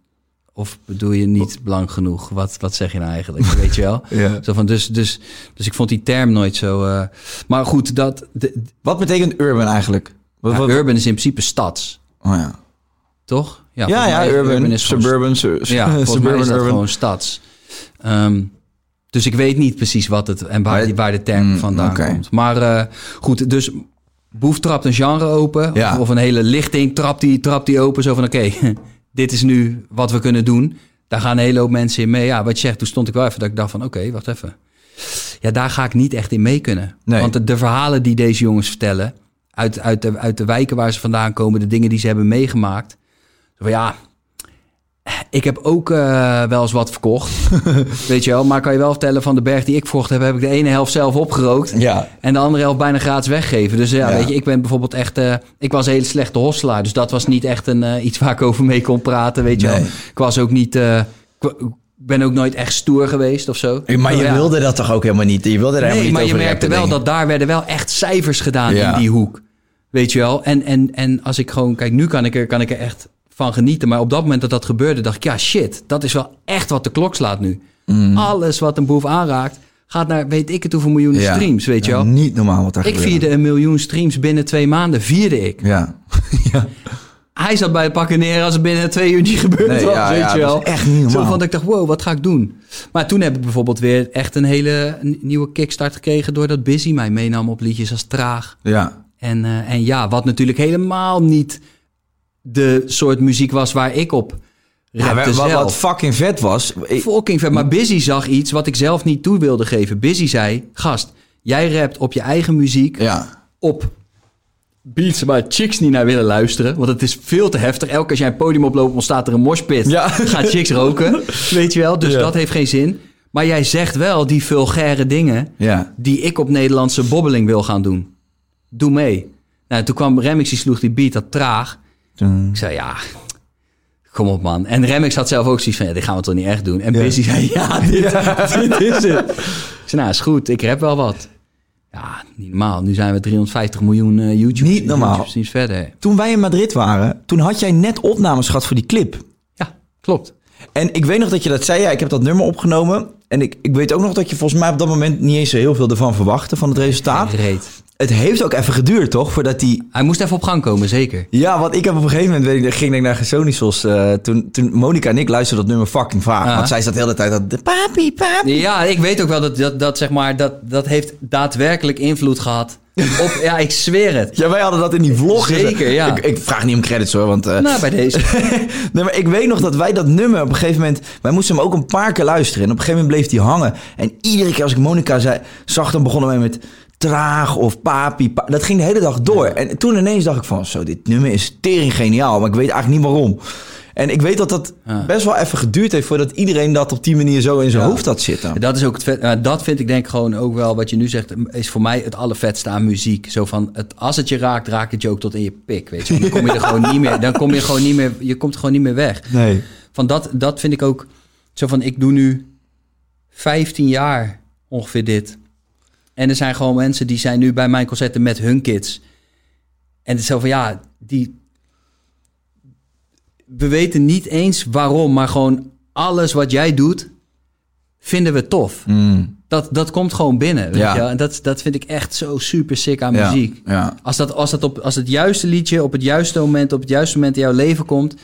Speaker 2: Of bedoel je niet belang genoeg? Wat, wat zeg je nou eigenlijk? Weet je wel?
Speaker 4: Ja.
Speaker 2: Zo van, dus, dus, dus ik vond die term nooit zo. eh, maar goed, dat, de,
Speaker 4: Wat betekent urban eigenlijk? Wat,
Speaker 2: ja,
Speaker 4: wat-
Speaker 2: urban is in principe stads,
Speaker 4: oh, ja.
Speaker 2: toch?
Speaker 4: Ja,
Speaker 2: volgens
Speaker 4: ja,
Speaker 2: mij
Speaker 4: urban,
Speaker 2: gewoon
Speaker 4: suburban, su-
Speaker 2: st- Ja, volgens mij
Speaker 4: suburban,
Speaker 2: is dat
Speaker 4: eh, urban.
Speaker 2: gewoon stads. Ehm, dus ik weet niet precies wat het en waar,
Speaker 4: Maar-
Speaker 2: waar de term
Speaker 4: Mm,
Speaker 2: vandaan
Speaker 4: oké.
Speaker 2: komt. Maar eh, goed, dus Boef trapt een genre open.
Speaker 4: Ja.
Speaker 2: Of, of een hele lichting trapt die, trapt die open. Zo van, oké, dit is nu wat we kunnen doen. Daar gaan een hele hoop mensen in mee. Ja, wat je zegt, toen stond ik wel even dat ik dacht van, oké, wacht even. Ja, daar ga ik niet echt in mee kunnen.
Speaker 4: Nee.
Speaker 2: Want de, de verhalen die deze jongens vertellen... Uit, uit, de, uit de wijken waar ze vandaan komen, de dingen die ze hebben meegemaakt. Zo van, ja, ik heb ook eh, wel eens wat verkocht. Weet je wel, maar ik kan je wel vertellen van de berg die ik verkocht heb... heb ik de ene helft zelf opgerookt.
Speaker 4: Ja,
Speaker 2: En de andere helft bijna gratis weggeven. Dus ja,
Speaker 4: Ja.
Speaker 2: weet je, ik ben bijvoorbeeld echt... eh, ik was een hele slechte hosselaar. Dus dat was niet echt een, eh, iets waar ik over mee kon praten, weet je wel.
Speaker 4: Nee.
Speaker 2: Ik was ook niet... eh, ik ben ook nooit echt stoer geweest of zo.
Speaker 4: maar je
Speaker 2: Ja.
Speaker 4: wilde dat toch ook helemaal niet? Je wilde er helemaal
Speaker 2: Nee,
Speaker 4: niet
Speaker 2: maar je
Speaker 4: over
Speaker 2: merkte wel
Speaker 4: rappen,
Speaker 2: dat daar werden wel echt cijfers gedaan
Speaker 4: Ja.
Speaker 2: in die hoek. Weet je wel? En, en, en als ik gewoon... Kijk, nu kan ik, er, kan ik er echt van genieten. Maar op dat moment dat dat gebeurde, dacht ik... Ja, shit. Dat is wel echt wat de klok slaat nu.
Speaker 4: Mm.
Speaker 2: Alles wat een boef aanraakt... gaat naar weet ik het hoeveel miljoenen
Speaker 4: Ja.
Speaker 2: streams, weet je
Speaker 4: Ja,
Speaker 2: wel?
Speaker 4: Niet normaal wat daar
Speaker 2: Ik
Speaker 4: gebeurde.
Speaker 2: vierde een miljoen streams binnen twee maanden. Vierde ik.
Speaker 4: Ja.
Speaker 2: Hij zat bij het pakken neer als het binnen twee uur niet gebeurd
Speaker 4: Nee,
Speaker 2: was.
Speaker 4: ja,
Speaker 2: weet
Speaker 4: ja,
Speaker 2: je
Speaker 4: dat
Speaker 2: wel.
Speaker 4: is echt niet normaal.
Speaker 2: Zo van dat ik dacht, wow, wat ga ik doen? Maar toen heb ik bijvoorbeeld weer echt een hele n- nieuwe kickstart gekregen... doordat Busy mij meenam op liedjes als Traag.
Speaker 4: Ja.
Speaker 2: En, eh, en ja, wat natuurlijk helemaal niet de soort muziek was waar ik op
Speaker 4: Ja,
Speaker 2: rapte
Speaker 4: wat,
Speaker 2: zelf.
Speaker 4: wat fucking vet was. ik-
Speaker 2: Fucking vet. Maar Busy zag iets wat ik zelf niet toe wilde geven. Busy zei, gast, jij rapt op je eigen muziek
Speaker 4: Ja.
Speaker 2: op beats waar chicks niet naar willen luisteren. Want het is veel te heftig. Elke keer als jij een podium oploopt, ontstaat er een moshpit.
Speaker 4: Ja.
Speaker 2: Gaan chicks roken. Weet je wel? Dus
Speaker 4: Ja.
Speaker 2: dat heeft geen zin. Maar jij zegt wel die vulgaire dingen
Speaker 4: Ja.
Speaker 2: die ik op Nederlandse bobbeling wil gaan doen. Doe mee. Nou, toen kwam Remix, die sloeg die beat dat traag. Ik zei, ja, kom op man. En Remix had zelf ook zoiets van, ja, dit gaan we toch niet echt doen. En Busy zei, ja, dit, dit is het. Ik zei, nou, is goed, ik heb wel wat. Ja, niet normaal. Nu zijn we 350 miljoen eh YouTube.
Speaker 4: Niet normaal.
Speaker 2: Precies verder.
Speaker 4: Toen wij in Madrid waren, toen had jij net opnames gehad voor die clip.
Speaker 2: Ja, klopt.
Speaker 4: En ik weet nog dat je dat zei. Ja, ik heb dat nummer opgenomen. En ik, ik weet ook nog dat je volgens mij op dat moment niet eens zo heel veel ervan verwachtte van het resultaat.
Speaker 2: Reed.
Speaker 4: Het heeft ook even geduurd, toch? Voordat die
Speaker 2: Hij moest even op gang komen, zeker.
Speaker 4: Ja, want ik heb op een gegeven moment, weet ik, ging ik naar Gesonisos. eh toen, toen Monica en ik luisterden dat nummer fucking vaak.
Speaker 2: Ja.
Speaker 4: Want zij zat de hele tijd dat... Papi, papi.
Speaker 2: Ja, ik weet ook wel dat dat, dat zeg maar, dat, dat heeft daadwerkelijk invloed gehad. Op, ja, ik zweer het.
Speaker 4: Ja, wij hadden dat in die vlog. gezet.
Speaker 2: Zeker, ja.
Speaker 4: Ik, ik vraag niet om credits hoor, want... eh,
Speaker 2: Nou, bij deze.
Speaker 4: nee, maar ik weet nog dat wij dat nummer op een gegeven moment... Wij moesten hem ook een paar keer luisteren. En op een gegeven moment bleef die hangen. En iedere keer als ik Monica zei, zag, dan begonnen wij met... Traag of papi. pa- dat ging de hele dag door. En toen ineens dacht ik van... Zo, dit nummer is tering geniaal. Maar ik weet eigenlijk niet waarom. En ik weet dat dat best wel even geduurd heeft... voordat iedereen dat op die manier zo in zijn hoofd had zitten.
Speaker 2: Dat is ook het vet. eh, dat vind ik denk ik gewoon ook wel wat je nu zegt. Is voor mij het allervetste aan muziek. Zo van het, als het je raakt, raakt het je ook tot in je pik. Weet je, dan kom je er gewoon niet meer. Dan kom je gewoon niet meer. Je komt er gewoon niet meer weg.
Speaker 4: Nee.
Speaker 2: Van dat, dat vind ik ook. Zo van ik doe nu 15 jaar ongeveer dit. En er zijn gewoon mensen die zijn nu bij mijn concerten met hun kids. En het is zo van ja, die. We weten niet eens waarom, maar gewoon alles wat jij doet, vinden we tof. Dat, dat komt gewoon binnen. Weet
Speaker 4: Mm. Ja.
Speaker 2: je wel? En dat, dat vind ik echt zo super sick aan
Speaker 4: Ja,
Speaker 2: muziek.
Speaker 4: ja.
Speaker 2: Als, dat, als, dat op, als het juiste liedje op het juiste moment, op het juiste moment in jouw leven komt,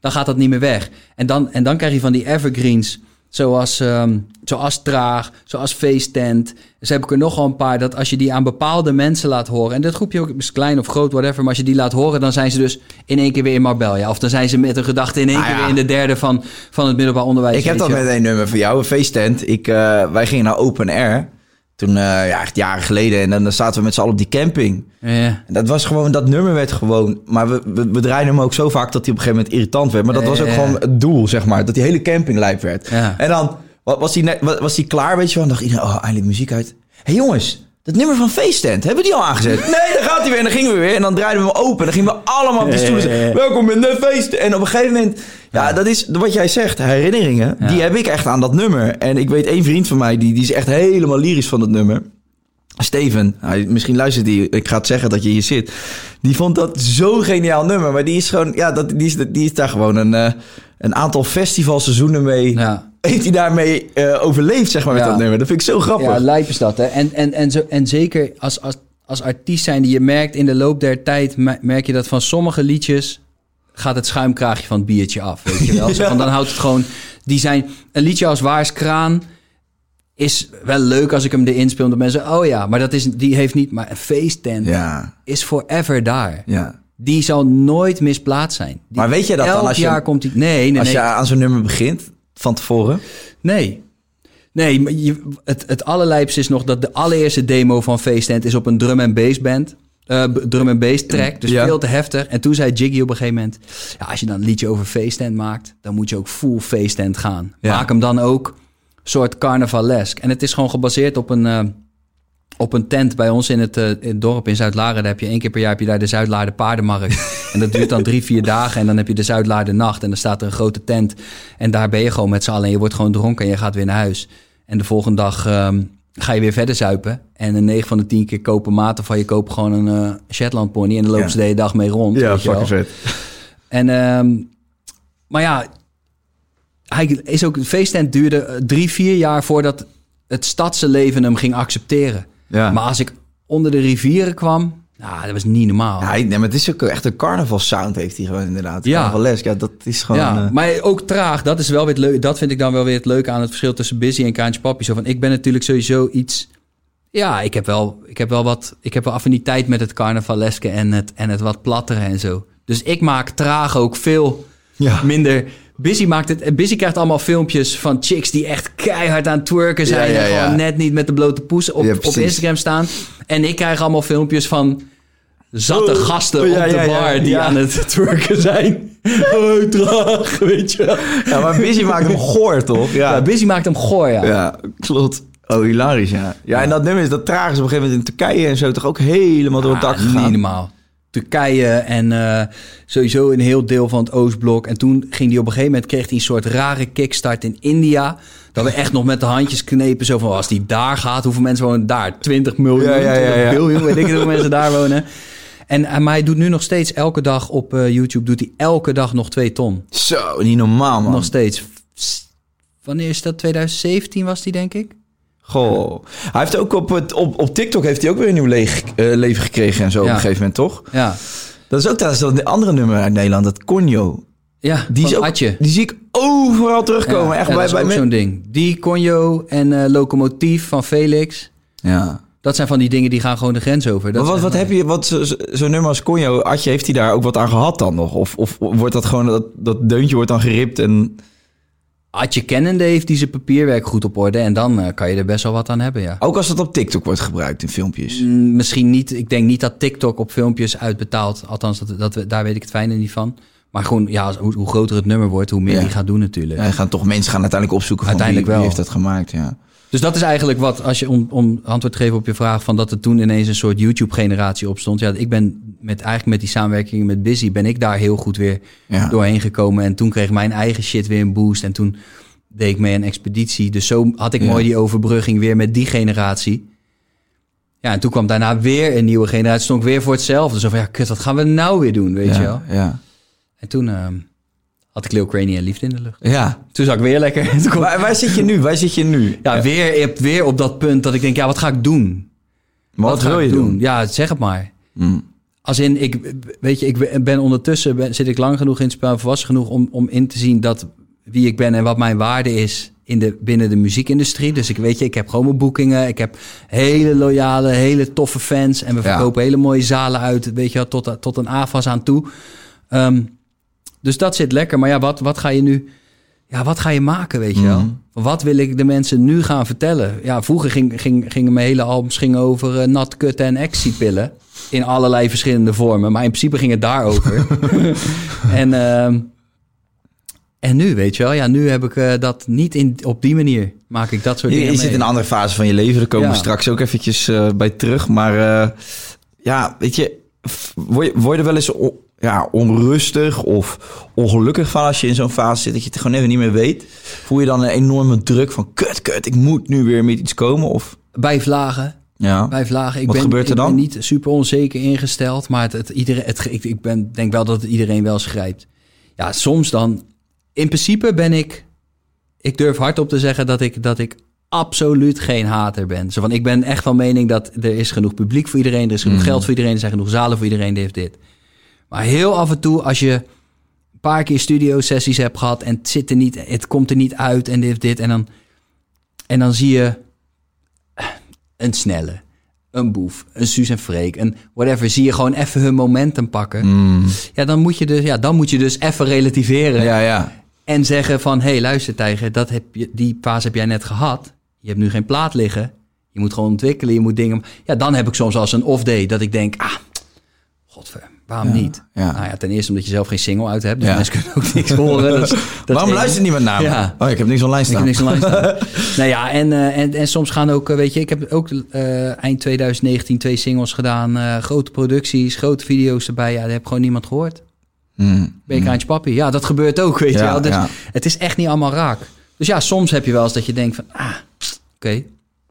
Speaker 2: dan gaat dat niet meer weg. En dan, en dan krijg je van die evergreens, zoals, ehm, zoals Traag, zoals Feesttent. Dus heb ik er nogal een paar, dat als je die aan bepaalde mensen laat horen... en dat groepje ook is klein of groot, whatever... maar als je die laat horen, dan zijn ze dus in één keer weer in Marbella. Of dan zijn ze met een gedachte in één
Speaker 4: Ah,
Speaker 2: keer
Speaker 4: ja.
Speaker 2: weer in de derde van, van het middelbaar onderwijs.
Speaker 4: Ik heb
Speaker 2: weet
Speaker 4: dat
Speaker 2: je.
Speaker 4: met een nummer van jou, een feesttent. Ik, eh, wij gingen naar Open Air. Toen, eh, ja, echt jaren geleden. En dan, dan zaten we met z'n allen op die camping.
Speaker 2: Ja.
Speaker 4: En dat was gewoon, dat nummer werd gewoon... Maar we, we, we draaiden hem ook zo vaak dat hij op een gegeven moment irritant werd. Maar dat was ook
Speaker 2: Ja.
Speaker 4: gewoon het doel, zeg maar. Dat die hele camping lijp werd.
Speaker 2: Ja.
Speaker 4: En dan wa- was hij, net- wa- was hij klaar, weet je wel. En dacht iedereen, oh, eindelijk muziek uit. Hé hey, jongens, dat nummer van feesttent, hebben we die al aangezet? nee, daar gaat hij weer. En dan gingen we weer. En dan draaiden we hem open. En dan gingen we allemaal op de stoelen zitten.
Speaker 2: Eh.
Speaker 4: Welkom in de feest. En op een gegeven moment, ja, dat is wat jij zegt. Herinneringen, die heb ik echt aan dat nummer. En ik weet één vriend van mij, die, die is echt helemaal lyrisch van dat nummer. Steven, hij, misschien luistert hij, ik ga het zeggen dat je hier zit. Die vond dat zo'n geniaal nummer. Maar die is gewoon, ja, dat, die, is, die is daar gewoon een, eh, een aantal festivalseizoenen mee.
Speaker 2: Ja.
Speaker 4: Heeft hij daarmee eh, overleefd, zeg maar, met
Speaker 2: Ja.
Speaker 4: dat nummer. Dat vind ik zo grappig.
Speaker 2: Ja, lijp is dat. Hè? En, en, en, zo, en zeker als, als, als artiest zijn die je merkt in de loop der tijd, me- merk je dat van sommige liedjes gaat het schuimkraagje van het biertje af. Weet je wel? Zo van, dan houdt het gewoon. Die zijn een liedje als Waars Kraan. Is wel leuk als ik hem erin speel. Omdat mensen, oh ja, maar dat is, die heeft niet. Maar een feesttent
Speaker 4: ja.
Speaker 2: is forever daar.
Speaker 4: ja.
Speaker 2: Die zal nooit misplaatst zijn. Die-
Speaker 4: Maar weet je dat dan
Speaker 2: elk
Speaker 4: als je-
Speaker 2: jaar komt die. Nee, nee,
Speaker 4: Als
Speaker 2: nee.
Speaker 4: je aan zo'n nummer begint, van tevoren.
Speaker 2: Nee. Nee, maar je, het, het allerlijpste is nog dat de allereerste demo van Feestend is op een drum en bass band. eh, b- drum en bass track, dus
Speaker 4: Ja.
Speaker 2: veel te heftig. En toen zei Jiggy op een gegeven moment... Ja, als je dan een liedje over Feestend maakt... dan moet je ook full Feestend gaan.
Speaker 4: Ja.
Speaker 2: Maak hem dan ook soort carnavalesk. En het is gewoon gebaseerd op een, eh, op een tent bij ons in het, eh, in het dorp in Zuid-Laren. Daar heb je één keer per jaar heb je daar de Zuid-Laren paardenmarkt. en dat duurt dan drie, vier dagen. En dan heb je de Zuid-Laren nacht. En dan staat er een grote tent. En daar ben je gewoon met z'n allen. En je wordt gewoon dronken en je gaat weer naar huis. En de volgende dag ehm, ga je weer verder zuipen. En een 9 van de 10 keer kopen maten van je koopt gewoon een eh, Shetland pony. En dan lopen
Speaker 4: Ja.
Speaker 2: ze de hele dag mee rond. weet je wel.
Speaker 4: vet.
Speaker 2: En, ehm, maar ja, hij is ook, de feesttent duurde eh, drie, vier jaar voordat het stadse leven hem ging accepteren.
Speaker 4: Ja.
Speaker 2: Maar als ik onder de rivieren kwam, nou, dat was niet normaal.
Speaker 4: Ja,
Speaker 2: Ja,
Speaker 4: hij- nee, maar het is ook echt een carnavalsound heeft hij gewoon inderdaad.
Speaker 2: Ja.
Speaker 4: Carnavalesk, ja, dat is gewoon... eh,
Speaker 2: maar ook traag, dat is wel weer het leu- Dat vind ik dan wel weer het leuke aan het verschil tussen Busy en Kraantje Papi. Zo van, ik ben natuurlijk sowieso iets. Ja, ik heb wel, ik heb wel wat. Ik heb wel affiniteit met het carnavaleske en het, en het wat plattere en zo. Dus ik maak traag ook veel
Speaker 4: ja.
Speaker 2: minder. Busy, maakt het, en Busy krijgt allemaal filmpjes van chicks die echt keihard aan het twerken zijn.
Speaker 4: Ja,
Speaker 2: en
Speaker 4: ja,
Speaker 2: gewoon
Speaker 4: ja.
Speaker 2: net niet met de blote poes op,
Speaker 4: Ja,
Speaker 2: op
Speaker 4: precies.
Speaker 2: Instagram staan. En ik krijg allemaal filmpjes van zatte
Speaker 4: Oh,
Speaker 2: gasten
Speaker 4: ja,
Speaker 2: op de
Speaker 4: ja, ja,
Speaker 2: bar die
Speaker 4: ja.
Speaker 2: aan het twerken zijn. Oh, traag, weet je wel.
Speaker 4: Ja, maar Busy maakt hem goor, toch?
Speaker 2: Ja, Busy maakt hem goor, ja.
Speaker 4: Ja, klopt. Oh, hilarisch, ja. Ja, en dat nummer is dat traag is op een gegeven moment in Turkije en zo toch ook helemaal door het dak
Speaker 2: Ah, niet
Speaker 4: gegaan.
Speaker 2: normaal. Turkije en eh, sowieso een heel deel van het Oostblok. En toen ging hij op een gegeven moment, kreeg hij een soort rare kickstart in India. Dat we echt nog met de handjes knepen. Zo van, als die daar gaat, hoeveel mensen wonen daar? 20 miljoen,
Speaker 4: Ja, ja, ja,
Speaker 2: 20
Speaker 4: ja.
Speaker 2: biljoen, weet ik hoeveel mensen daar wonen. En, eh, maar hij doet nu nog steeds elke dag op eh, YouTube, doet hij elke dag nog twee ton.
Speaker 4: Zo, niet normaal, man.
Speaker 2: Nog steeds. Wanneer is dat? 2017 was die, denk ik?
Speaker 4: Goh. Hij heeft ook op, het, op, op TikTok heeft hij ook weer een nieuw leeg, eh, leven gekregen en zo op
Speaker 2: Ja.
Speaker 4: een gegeven moment, toch?
Speaker 2: Ja.
Speaker 4: Dat is ook trouwens dat andere nummer uit Nederland, dat Conjo.
Speaker 2: Ja,
Speaker 4: Die, is
Speaker 2: van
Speaker 4: ook,
Speaker 2: Atje.
Speaker 4: die zie ik overal terugkomen.
Speaker 2: Ja,
Speaker 4: echt
Speaker 2: ja,
Speaker 4: bij,
Speaker 2: dat is
Speaker 4: bij
Speaker 2: ook
Speaker 4: men-
Speaker 2: zo'n ding. Die, Conjo en eh, Locomotief van Felix.
Speaker 4: Ja.
Speaker 2: Dat zijn van die dingen die gaan gewoon de grens over. Dat
Speaker 4: Maar wat,
Speaker 2: is-
Speaker 4: wat heb je, wat zo- zo- zo'n nummer als Conjo, Atje, heeft hij daar ook wat aan gehad dan nog? Of, of wordt dat gewoon, dat, dat deuntje wordt dan geript en...
Speaker 2: Adje kennende heeft die zijn papierwerk goed op orde. En dan eh, kan je er best wel wat aan hebben, ja.
Speaker 4: Ook als dat op TikTok wordt gebruikt in filmpjes.
Speaker 2: Mm, Misschien niet. Ik denk niet dat TikTok op filmpjes uitbetaalt. Althans, dat, dat, we- daar weet ik het fijne niet van. Maar gewoon, ja, als- hoe, hoe groter het nummer wordt, hoe meer
Speaker 4: Ja.
Speaker 2: die gaat doen natuurlijk.
Speaker 4: Ja, en gaan toch mensen gaan uiteindelijk opzoeken van
Speaker 2: Uiteindelijk
Speaker 4: wie, wie
Speaker 2: wel.
Speaker 4: heeft dat gemaakt. Ja.
Speaker 2: Dus dat is eigenlijk wat, als je om, om antwoord te geven op je vraag... van dat er toen ineens een soort YouTube-generatie opstond. Ja, ik ben met, eigenlijk met die samenwerking met Busy... ben ik daar heel goed weer
Speaker 4: Ja.
Speaker 2: doorheen gekomen. En toen kreeg mijn eigen shit weer een boost. En toen deed ik mee een expeditie. Dus zo had ik
Speaker 4: Ja.
Speaker 2: mooi die overbrugging weer met die generatie. Ja, en toen kwam daarna weer een nieuwe generatie. Stond ik weer voor hetzelfde. Zo van, ja, kut, wat gaan we nou weer doen, weet je
Speaker 4: ja,
Speaker 2: wel?
Speaker 4: Ja.
Speaker 2: En toen ehm, had ik Lil Cranny en Liefde in de lucht.
Speaker 4: ja.
Speaker 2: Toen zag ik weer lekker. Toen kwam-
Speaker 4: Waar, waar zit je nu? Waar zit je nu?
Speaker 2: ja, Weer, op- weer op dat punt dat ik denk, ja, wat ga ik doen?
Speaker 4: Maar wat,
Speaker 2: ga
Speaker 4: wil
Speaker 2: ik
Speaker 4: je doen?
Speaker 2: Ja, zeg het maar.
Speaker 4: Mm.
Speaker 2: Als in, ik, weet je, ik ben ondertussen, ben, zit ik lang genoeg in het spel en volwassen genoeg om, om in te zien dat wie ik ben en wat mijn waarde is in de, binnen de muziekindustrie. Dus ik weet je, ik heb gewoon mijn boekingen, ik heb hele loyale, hele toffe fans en we
Speaker 4: Ja.
Speaker 2: verkopen hele mooie zalen uit, weet je wel, tot, tot een AFAS aan toe. Ehm, dus dat zit lekker, maar ja, wat, wat ga je nu, ja, wat ga je maken, weet je
Speaker 4: Mhm.
Speaker 2: wel? Wat wil ik de mensen nu gaan vertellen? Ja, vroeger ging, ging, gingen mijn hele albums gingen over eh, nat kutten en ecstasypillen. In allerlei verschillende vormen. Maar in principe ging het daarover. en, ehm, en nu, weet je wel. Ja, nu heb ik eh, dat niet in, op die manier. Maak ik dat soort
Speaker 4: Je,
Speaker 2: dingen
Speaker 4: je zit
Speaker 2: mee.
Speaker 4: in een andere fase van je leven. Daar komen
Speaker 2: Ja.
Speaker 4: we straks ook eventjes eh, bij terug. Maar eh, ja, weet je, f- word je, word je er wel eens on- ja, onrustig of ongelukkig van als je in zo'n fase zit dat je het gewoon even niet meer weet? Voel je dan een enorme druk van kut, kut, ik moet nu weer met iets komen? Of
Speaker 2: Bij vlagen.
Speaker 4: Ja.
Speaker 2: Vijf lagen. Ik
Speaker 4: Wat
Speaker 2: ben,
Speaker 4: gebeurt er
Speaker 2: ik ben
Speaker 4: dan?
Speaker 2: niet super onzeker ingesteld, maar het, het, iedereen, het, ik, ik ben, denk wel dat het iedereen wel schrijft. Ja, soms dan. In principe ben ik. Ik durf hardop te zeggen dat ik, dat ik absoluut geen hater ben. Zo van, ik ben echt van mening dat er is genoeg publiek voor iedereen, er is
Speaker 4: Mm.
Speaker 2: genoeg geld voor iedereen, er zijn genoeg zalen voor iedereen, dit heeft dit. Maar heel af en toe, als je een paar keer studio-sessies hebt gehad en het, zit er niet, het komt er niet uit en dit heeft dit, en dan, en dan zie je een snelle, een boef, een Suus en Freek, een whatever. Zie je gewoon even hun momentum pakken. Ja, dan moet je dus, ja, dan moet je dus even relativeren.
Speaker 4: Ja, ja.
Speaker 2: En zeggen van, hé hey, luister tijger, dat heb je, die fase heb jij net gehad. Je hebt nu geen plaat liggen. Je moet gewoon ontwikkelen, je moet dingen... Ja, dan heb ik soms als een off-day dat ik denk, ah, godver, waarom niet?
Speaker 4: ja.
Speaker 2: Nou ja, ten eerste omdat je zelf geen single uit hebt. Dus
Speaker 4: Ja.
Speaker 2: mensen kunnen ook niks horen. Dat is- dat is
Speaker 4: Waarom
Speaker 2: één.
Speaker 4: luistert niemand naar me?
Speaker 2: Ja.
Speaker 4: Oh, ik heb niks online staan.
Speaker 2: Ik heb niks online staan. nou ja, en, eh, en, en soms gaan ook, eh, weet je, ik heb ook eh, eind 2019 twee singles gedaan. eh, grote producties, grote video's erbij. Ja, daar heb gewoon niemand gehoord. Bekerhandje papi. Ja, dat gebeurt ook, weet
Speaker 4: Hmm. Ja,
Speaker 2: je wel. Dus
Speaker 4: ja.
Speaker 2: het is echt niet allemaal raak. Dus ja, soms heb je wel eens dat je denkt van, ah, oké.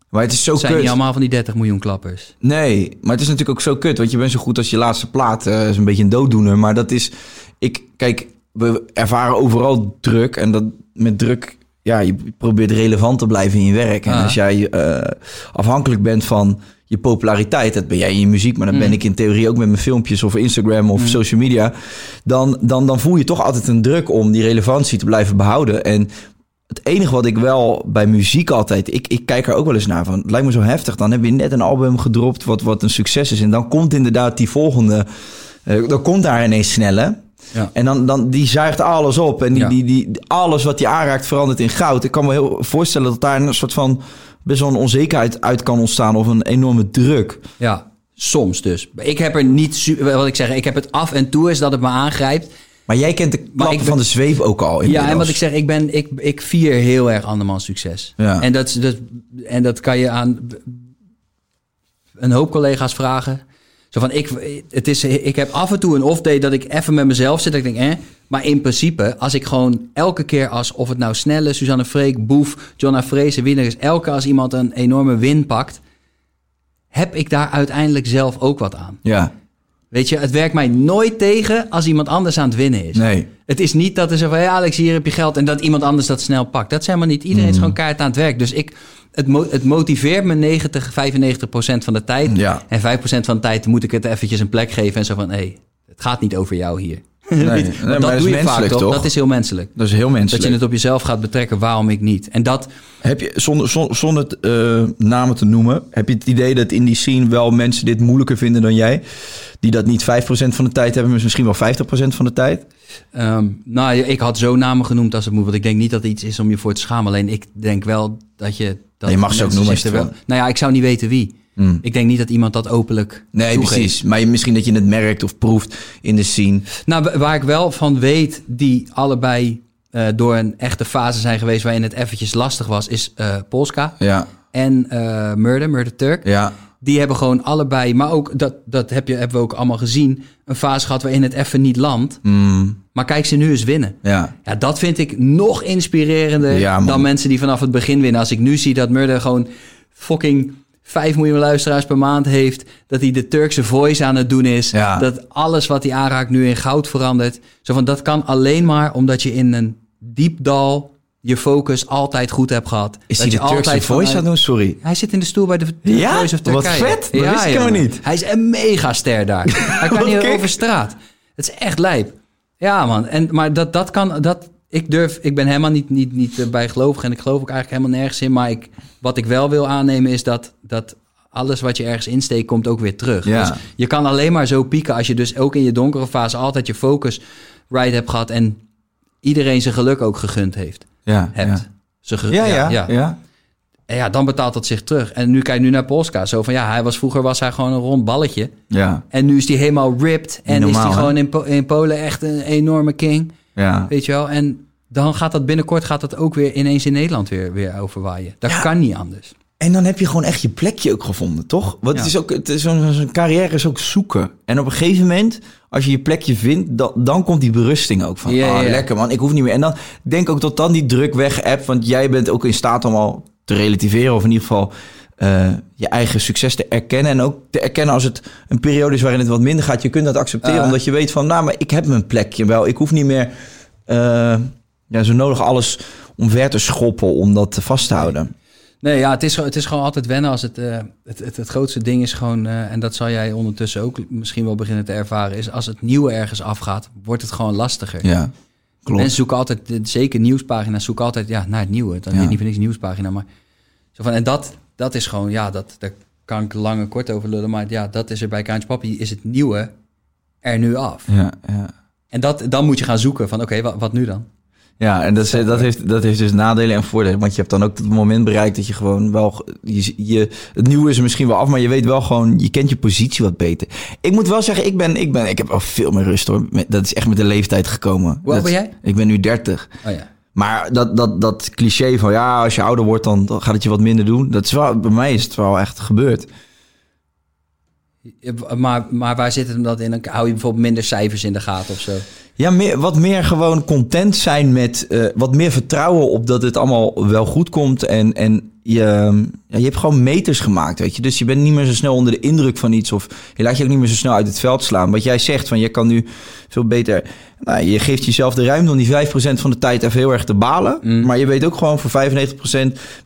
Speaker 4: Maar het is zo
Speaker 2: het zijn
Speaker 4: Oh, kut.
Speaker 2: niet allemaal van die 30 miljoen klappers.
Speaker 4: Nee, maar het is natuurlijk ook zo kut. Want je bent zo goed als je laatste plaat. eh is een beetje een dooddoener. Maar dat is... Ik, kijk, we ervaren overal druk. En dat met druk... Ja, je probeert relevant te blijven in je werk. En
Speaker 2: Ah.
Speaker 4: als jij eh, afhankelijk bent van je populariteit... dat ben jij in je muziek, maar dan ben ik in theorie ook met mijn filmpjes... of Instagram of social media... Dan, dan, dan voel je toch altijd een druk om die relevantie te blijven behouden. En het enige wat ik wel bij muziek altijd, ik, ik kijk er ook wel eens naar van, het lijkt me zo heftig. Dan heb je net een album gedropt wat, wat een succes is en dan komt inderdaad die volgende, eh, dan komt daar ineens snelle.
Speaker 2: Ja.
Speaker 4: En dan, dan die zuigt alles op en die,
Speaker 2: Ja.
Speaker 4: die, die, alles wat die aanraakt verandert in goud. Ik kan me heel voorstellen dat daar een soort van best wel een onzekerheid uit kan ontstaan of een enorme druk.
Speaker 2: Ja, soms dus. Ik heb er niet, su- wat ik zeg, ik heb het af en toe is dat het me aangrijpt.
Speaker 4: Maar jij kent de klappen
Speaker 2: ik ben-
Speaker 4: van de zweep ook
Speaker 2: Ja,
Speaker 4: al.
Speaker 2: en
Speaker 4: inmiddels.
Speaker 2: wat ik zeg, ik, ben, ik, ik vier heel erg andermans succes.
Speaker 4: Ja.
Speaker 2: En, dat, is- dat, en dat kan je aan b- een hoop collega's vragen. Zo van, ik, het is, ik heb af en toe een off-day dat ik even met mezelf zit. Dat ik denk, eh? Maar in principe, als ik gewoon elke keer als... of het nou Snelle, Suzanne Freek, Boef, Jonna Freese, Winner is... elke als iemand een enorme win pakt... heb ik daar uiteindelijk zelf ook wat aan.
Speaker 4: Ja,
Speaker 2: Weet je, het werkt mij nooit tegen als iemand anders aan het winnen is.
Speaker 4: nee.
Speaker 2: Het is niet dat er zo van, hey Alex, hier heb je geld en dat iemand anders dat snel pakt. Dat zijn maar niet. Iedereen
Speaker 4: Mm.
Speaker 2: is gewoon kaart aan het werk. Dus ik, het, mo- het motiveert me 90, 95 procent van de tijd.
Speaker 4: Ja.
Speaker 2: En 5 procent van de tijd moet ik het eventjes een plek geven en zo van, hé, het gaat niet over jou hier.
Speaker 4: nee. nee,
Speaker 2: Want
Speaker 4: maar dat is
Speaker 2: doe je vaak
Speaker 4: menselijk,
Speaker 2: toch?
Speaker 4: toch?
Speaker 2: Dat is heel menselijk.
Speaker 4: Dat is heel menselijk.
Speaker 2: Dat je het op jezelf gaat betrekken, waarom ik niet. En dat,
Speaker 4: Heb je, zonder, zonder, zonder het, eh, namen te noemen, heb je het idee dat in die scene wel mensen dit moeilijker vinden dan jij? Die dat niet 5% van de tijd hebben, maar misschien wel 50% van de tijd?
Speaker 2: ehm, nou, ik had zo namen genoemd als het moet. Want ik denk niet dat er iets is om je voor te schamen. Alleen ik denk wel dat je... Dat
Speaker 4: Nee, je mag ze
Speaker 2: mensen
Speaker 4: ook noemen als
Speaker 2: zich
Speaker 4: je
Speaker 2: er
Speaker 4: het Hmm.
Speaker 2: Nou ja, ik zou niet weten wie. Ik denk niet dat iemand dat openlijk
Speaker 4: Nee,
Speaker 2: toegeeft.
Speaker 4: precies. Maar je- misschien dat je het merkt of proeft in de scene.
Speaker 2: Nou, wa- waar ik wel van weet, die allebei eh, door een echte fase zijn geweest waarin het eventjes lastig was, is eh, Polska
Speaker 4: Ja,
Speaker 2: en eh, Murder, Murder Turk.
Speaker 4: ja.
Speaker 2: Die hebben gewoon allebei, maar ook dat, dat heb je, hebben we ook allemaal gezien, een fase gehad waarin het even niet landt. Maar kijk ze nu eens winnen.
Speaker 4: Mm. Ja.
Speaker 2: Ja, dat vind ik nog inspirerender
Speaker 4: Ja, man.
Speaker 2: dan mensen die vanaf het begin winnen. Als ik nu zie dat Murder gewoon fucking 5 miljoen luisteraars per maand heeft. Dat hij de Turkse voice aan het doen is.
Speaker 4: Ja.
Speaker 2: Dat alles wat hij aanraakt nu in goud verandert. Zo van, dat kan alleen maar omdat je in een diep dal je focus altijd goed hebt gehad.
Speaker 4: Is
Speaker 2: dat
Speaker 4: hij
Speaker 2: je
Speaker 4: de Turkse
Speaker 2: altijd
Speaker 4: voice
Speaker 2: vanuit-
Speaker 4: aan het doen? Sorry.
Speaker 2: hij zit in de stoel bij de, de
Speaker 4: Ja?
Speaker 2: Voice of
Speaker 4: Wat
Speaker 2: Turkije.
Speaker 4: vet. Dat wist ik helemaal niet.
Speaker 2: Hij is een megaster daar. Hij kan niet
Speaker 4: Wat gek.
Speaker 2: over straat. Het is echt lijp. Ja, man. En, maar dat, dat kan... Dat, ik durf... Ik ben helemaal niet, niet, niet eh, bijgelovig en ik geloof ook eigenlijk helemaal nergens in. Maar ik, wat ik wel wil aannemen is dat, dat alles wat je ergens insteekt komt ook weer terug.
Speaker 4: Ja.
Speaker 2: Dus je kan alleen maar zo pieken als je dus ook in je donkere fase altijd je focus right hebt gehad en iedereen zijn geluk ook gegund heeft.
Speaker 4: Ja,
Speaker 2: Hebt. Zijn ge-
Speaker 4: Ja, ja, ja. ja.
Speaker 2: en ja, dan betaalt dat zich terug. En nu kijk nu naar Polska. Zo van ja, hij was, vroeger was hij gewoon een rond balletje.
Speaker 4: ja.
Speaker 2: En nu is hij helemaal ripped. En
Speaker 4: Normaal,
Speaker 2: is hij
Speaker 4: hè?
Speaker 2: gewoon in, Po- in Polen echt een enorme king.
Speaker 4: ja.
Speaker 2: Weet je wel? En dan gaat dat binnenkort gaat dat ook weer ineens in Nederland weer, weer overwaaien. Dat kan niet anders.
Speaker 4: En dan heb je gewoon echt je plekje ook gevonden, toch? Want het is ook, het is zo'n zo'n carrière is ook zoeken. En op een gegeven moment, als je je plekje vindt, dan, dan komt die berusting ook van, ah,
Speaker 2: Ja, ja, ja.
Speaker 4: lekker man, ik hoef niet meer. En dan ik denk ook dat dan die druk weg hebt, want jij bent ook in staat om al te relativeren, of in ieder geval eh, eh, je eigen succes te erkennen. En ook te erkennen als het een periode is waarin het wat minder gaat. Je kunt dat accepteren,
Speaker 2: Ah.
Speaker 4: omdat je weet van, nou, maar ik heb mijn plekje wel. Ik hoef niet meer eh, ja, zo nodig alles omver te schoppen om dat vast te houden.
Speaker 2: Nee, ja, het is, gewoon- het is gewoon altijd wennen als het, eh, het, het, het grootste ding is gewoon, eh, en dat zal jij ondertussen ook misschien wel beginnen te ervaren, is als het nieuwe ergens afgaat, wordt het gewoon lastiger.
Speaker 4: Ja, klopt.
Speaker 2: Mensen zoeken altijd, eh, zeker nieuwspagina's, zoeken altijd ja, naar het nieuwe. Dan
Speaker 4: Ja.
Speaker 2: weet niet voor niks nieuwspagina, maar zo van, en dat, dat is gewoon, ja, dat, daar kan ik lang en kort over lullen, maar ja, dat is er bij Kaantje Papi, is het nieuwe er nu af.
Speaker 4: Ja, ja.
Speaker 2: En dat, dan moet je gaan zoeken van, oké, wa- wat, nu dan?
Speaker 4: Ja, en dat, is- dat, heeft, dat heeft dus nadelen en voordelen. Want je hebt dan ook het moment bereikt dat je gewoon wel... Je, je, het nieuwe is er misschien wel af, maar je weet wel gewoon... Je kent je positie wat beter. Ik moet wel zeggen, ik, ben, ik, ben, ik heb wel veel meer rust hoor. Met- Dat is echt met de leeftijd gekomen.
Speaker 2: Hoe oud
Speaker 4: Dat-
Speaker 2: ben jij?
Speaker 4: Ik ben nu 30.
Speaker 2: Oh ja.
Speaker 4: Maar dat, dat, dat cliché van ja, als je ouder wordt dan dan gaat het je wat minder doen. Dat is wel, bij mij is het wel echt gebeurd.
Speaker 2: Ja, Maar, maar waar zit het hem dat in? Dan hou je bijvoorbeeld minder cijfers in de gaten of zo.
Speaker 4: Ja, meer, wat meer gewoon content zijn met eh, wat meer vertrouwen op dat het allemaal wel goed komt. En, en je, ja, je hebt gewoon meters gemaakt, weet je. Dus je bent niet meer zo snel onder de indruk van iets. Of je laat je ook niet meer zo snel uit het veld slaan. Wat jij zegt, van je kan nu veel beter. Nou, je geeft jezelf de ruimte om die 5% van de tijd even heel erg te balen. Maar je weet ook gewoon voor 95%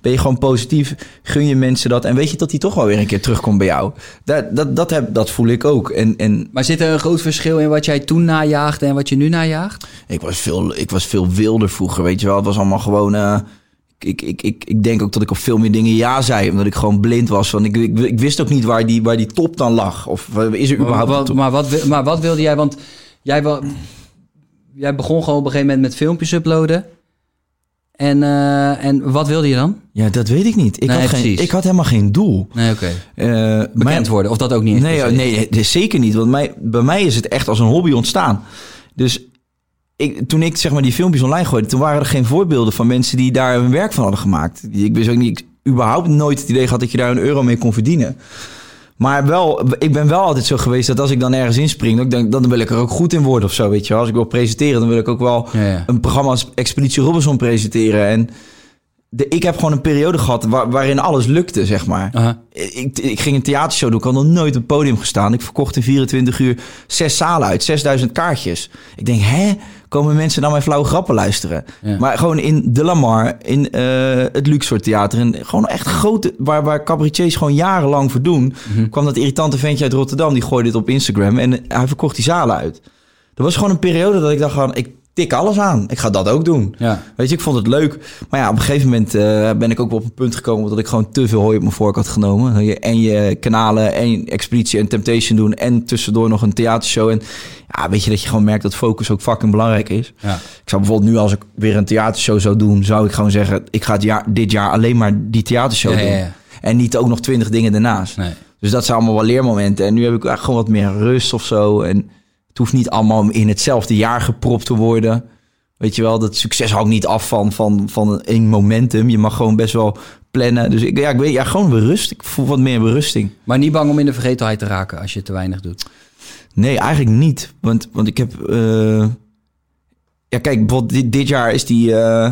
Speaker 4: ben je gewoon positief. Gun je mensen dat. En weet je dat die toch wel weer een keer terugkomt bij jou. Dat, dat, dat, heb, dat voel ik ook. En, en
Speaker 2: Maar zit er een groot verschil in wat jij toen najaagde en wat je nu najaagt?
Speaker 4: Ik was veel, ik was veel wilder vroeger, weet je wel. Het was allemaal gewoon... eh, ik, ik, ik, ik denk ook dat ik op veel meer dingen ja zei. Omdat ik gewoon blind was. Want ik, ik, ik wist ook niet waar die, waar die top dan lag. Of eh, is er
Speaker 2: Maar
Speaker 4: überhaupt een
Speaker 2: wat,
Speaker 4: top?
Speaker 2: maar, wat, wi- maar wat wilde jij? Want jij, wa- jij begon gewoon op een gegeven moment met filmpjes uploaden. En, eh, en wat wilde je dan?
Speaker 4: Ja, dat weet ik niet. Ik,
Speaker 2: Nee,
Speaker 4: had, geen,
Speaker 2: precies.
Speaker 4: ik had helemaal geen doel.
Speaker 2: Nee, oké.
Speaker 4: Eh,
Speaker 2: Bekend
Speaker 4: mijn-
Speaker 2: worden, of dat ook niet? eens
Speaker 4: Nee,
Speaker 2: per
Speaker 4: oh,
Speaker 2: se?
Speaker 4: nee, nee, zeker niet. Want mij, bij mij is het echt als een hobby ontstaan. Dus ik, toen ik zeg maar die filmpjes online gooide, toen waren er geen voorbeelden van mensen die daar hun werk van hadden gemaakt. Die- Ik wist ook niet, ik überhaupt nooit het idee had dat je daar een euro mee kon verdienen. Maar wel, ik ben wel altijd zo geweest dat als ik dan ergens inspring, dat ik denk, dan wil ik er ook goed in worden of zo, weet je wel. Als ik wil presenteren, dan wil ik ook wel
Speaker 2: Ja, ja.
Speaker 4: een programma als Expeditie Robinson presenteren. En de, ik heb gewoon een periode gehad waar- waarin alles lukte, zeg maar.
Speaker 2: Aha.
Speaker 4: Ik, ik ging een theatershow doen. Ik had nog nooit op het podium gestaan. Ik verkocht in 24 uur zes zalen uit, 6000 kaartjes. Ik denk, hè? Komen mensen naar mijn flauwe grappen luisteren?
Speaker 2: Ja.
Speaker 4: Maar gewoon in De Lamar, in eh, het Luxor Theater. En gewoon echt grote, waar, waar cabaretiers gewoon jarenlang voor doen.
Speaker 2: Mhm.
Speaker 4: kwam dat irritante ventje uit Rotterdam. Die gooide dit op Instagram en hij verkocht die zalen uit. Er was gewoon een periode dat ik dacht van, ik tik alles aan. Ik ga dat ook doen.
Speaker 2: Ja.
Speaker 4: Weet je, ik vond het leuk. Maar ja, op een gegeven moment eh, ben ik ook wel op een punt gekomen... dat ik gewoon te veel hooi op mijn vork had genomen. Dat je En je kanalen, en Expeditie en Temptation doen... en tussendoor nog een theatershow. En ja, weet je dat je gewoon merkt dat focus ook fucking belangrijk is.
Speaker 2: Ja.
Speaker 4: Ik zou bijvoorbeeld nu als ik weer een theatershow zou doen... zou ik gewoon zeggen, ik ga het jaar, dit jaar alleen maar die theatershow
Speaker 2: Ja,
Speaker 4: doen.
Speaker 2: ja, ja.
Speaker 4: En niet ook nog twintig dingen daarnaast.
Speaker 2: Nee.
Speaker 4: Dus dat zijn allemaal wel leermomenten. En nu heb ik eigenlijk gewoon wat meer rust of zo. En het hoeft niet allemaal in hetzelfde jaar gepropt te worden. Weet je wel, dat succes hangt niet af van, van, van een momentum. Je mag gewoon best wel plannen. Dus ik, ja, ik weet, ja, gewoon berust. Ik voel wat meer berusting.
Speaker 2: Maar niet bang om in de vergetelheid te raken als je te weinig doet.
Speaker 4: Nee, eigenlijk niet. Want, want ik heb. eh, Ja, kijk, bijvoorbeeld dit, dit jaar is die eh,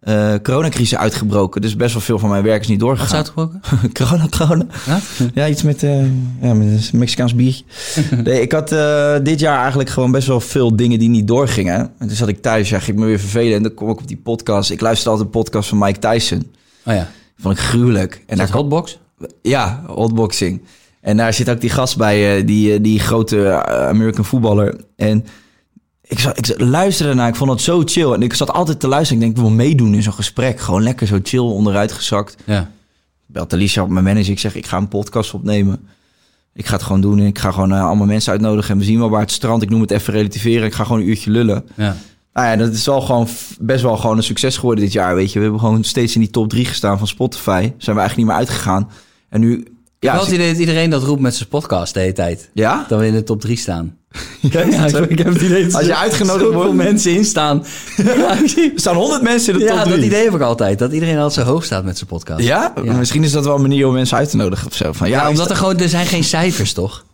Speaker 4: eh, coronacrisis uitgebroken. Dus best wel veel van mijn werk is niet
Speaker 2: Wat is
Speaker 4: doorgegaan.
Speaker 2: uitgebroken?
Speaker 4: corona, corona.
Speaker 2: Ja?
Speaker 4: Ja, iets met, eh, ja, met een Mexicaans biertje. Nee, ik had eh, dit jaar eigenlijk gewoon best wel veel dingen die niet doorgingen. En toen zat ik thuis, ja, ging ik me weer vervelen. En dan kom ik op die podcast. Ik luisterde altijd een podcast van Mike Tyson.
Speaker 2: Oh ja.
Speaker 4: Vond ik gruwelijk. En
Speaker 2: En dat
Speaker 4: daar,
Speaker 2: hotbox?
Speaker 4: ja, hotboxing. En daar zit ook die gast bij, eh, die, eh, die grote eh, American voetballer. En ik, zat, ik zat- luisterde naar, ik vond dat zo chill. En ik zat altijd te luisteren. Ik denk, ik wil meedoen in zo'n gesprek. Gewoon lekker zo chill, onderuit gezakt
Speaker 2: Ja.
Speaker 4: belt Elisa op mijn manager. Ik zeg, ik ga een podcast opnemen. Ik ga het gewoon doen. en Ik ga gewoon eh, allemaal mensen uitnodigen. En we zien wel waar het strand. Ik noem het even relativeren. Ik ga gewoon een uurtje lullen.
Speaker 2: ja.
Speaker 4: Nou ja, dat is wel gewoon f- best wel gewoon een succes geworden dit jaar. Weet je, we hebben gewoon steeds in die top 3 gestaan van Spotify. Zijn we eigenlijk niet meer uitgegaan. En nu.
Speaker 2: Ik
Speaker 4: Ja,
Speaker 2: heb wel het idee dat iedereen dat roept met zijn podcast de hele tijd.
Speaker 4: ja?
Speaker 2: Dat we in de top 3 staan.
Speaker 4: Ja, ik- ik heb het idee dat Als je uitgenodigd
Speaker 2: zoveel
Speaker 4: wordt,
Speaker 2: mensen in staan. Ja,
Speaker 4: er staan 100 mensen in de top 3.
Speaker 2: dat idee heb ik altijd. Dat iedereen altijd zo hoog staat met zijn podcast.
Speaker 4: Ja? misschien is dat wel een manier om mensen uit te nodigen of zo. Van, ja,
Speaker 2: Ja,
Speaker 4: is
Speaker 2: omdat er gewoon, er zijn geen cijfers, toch?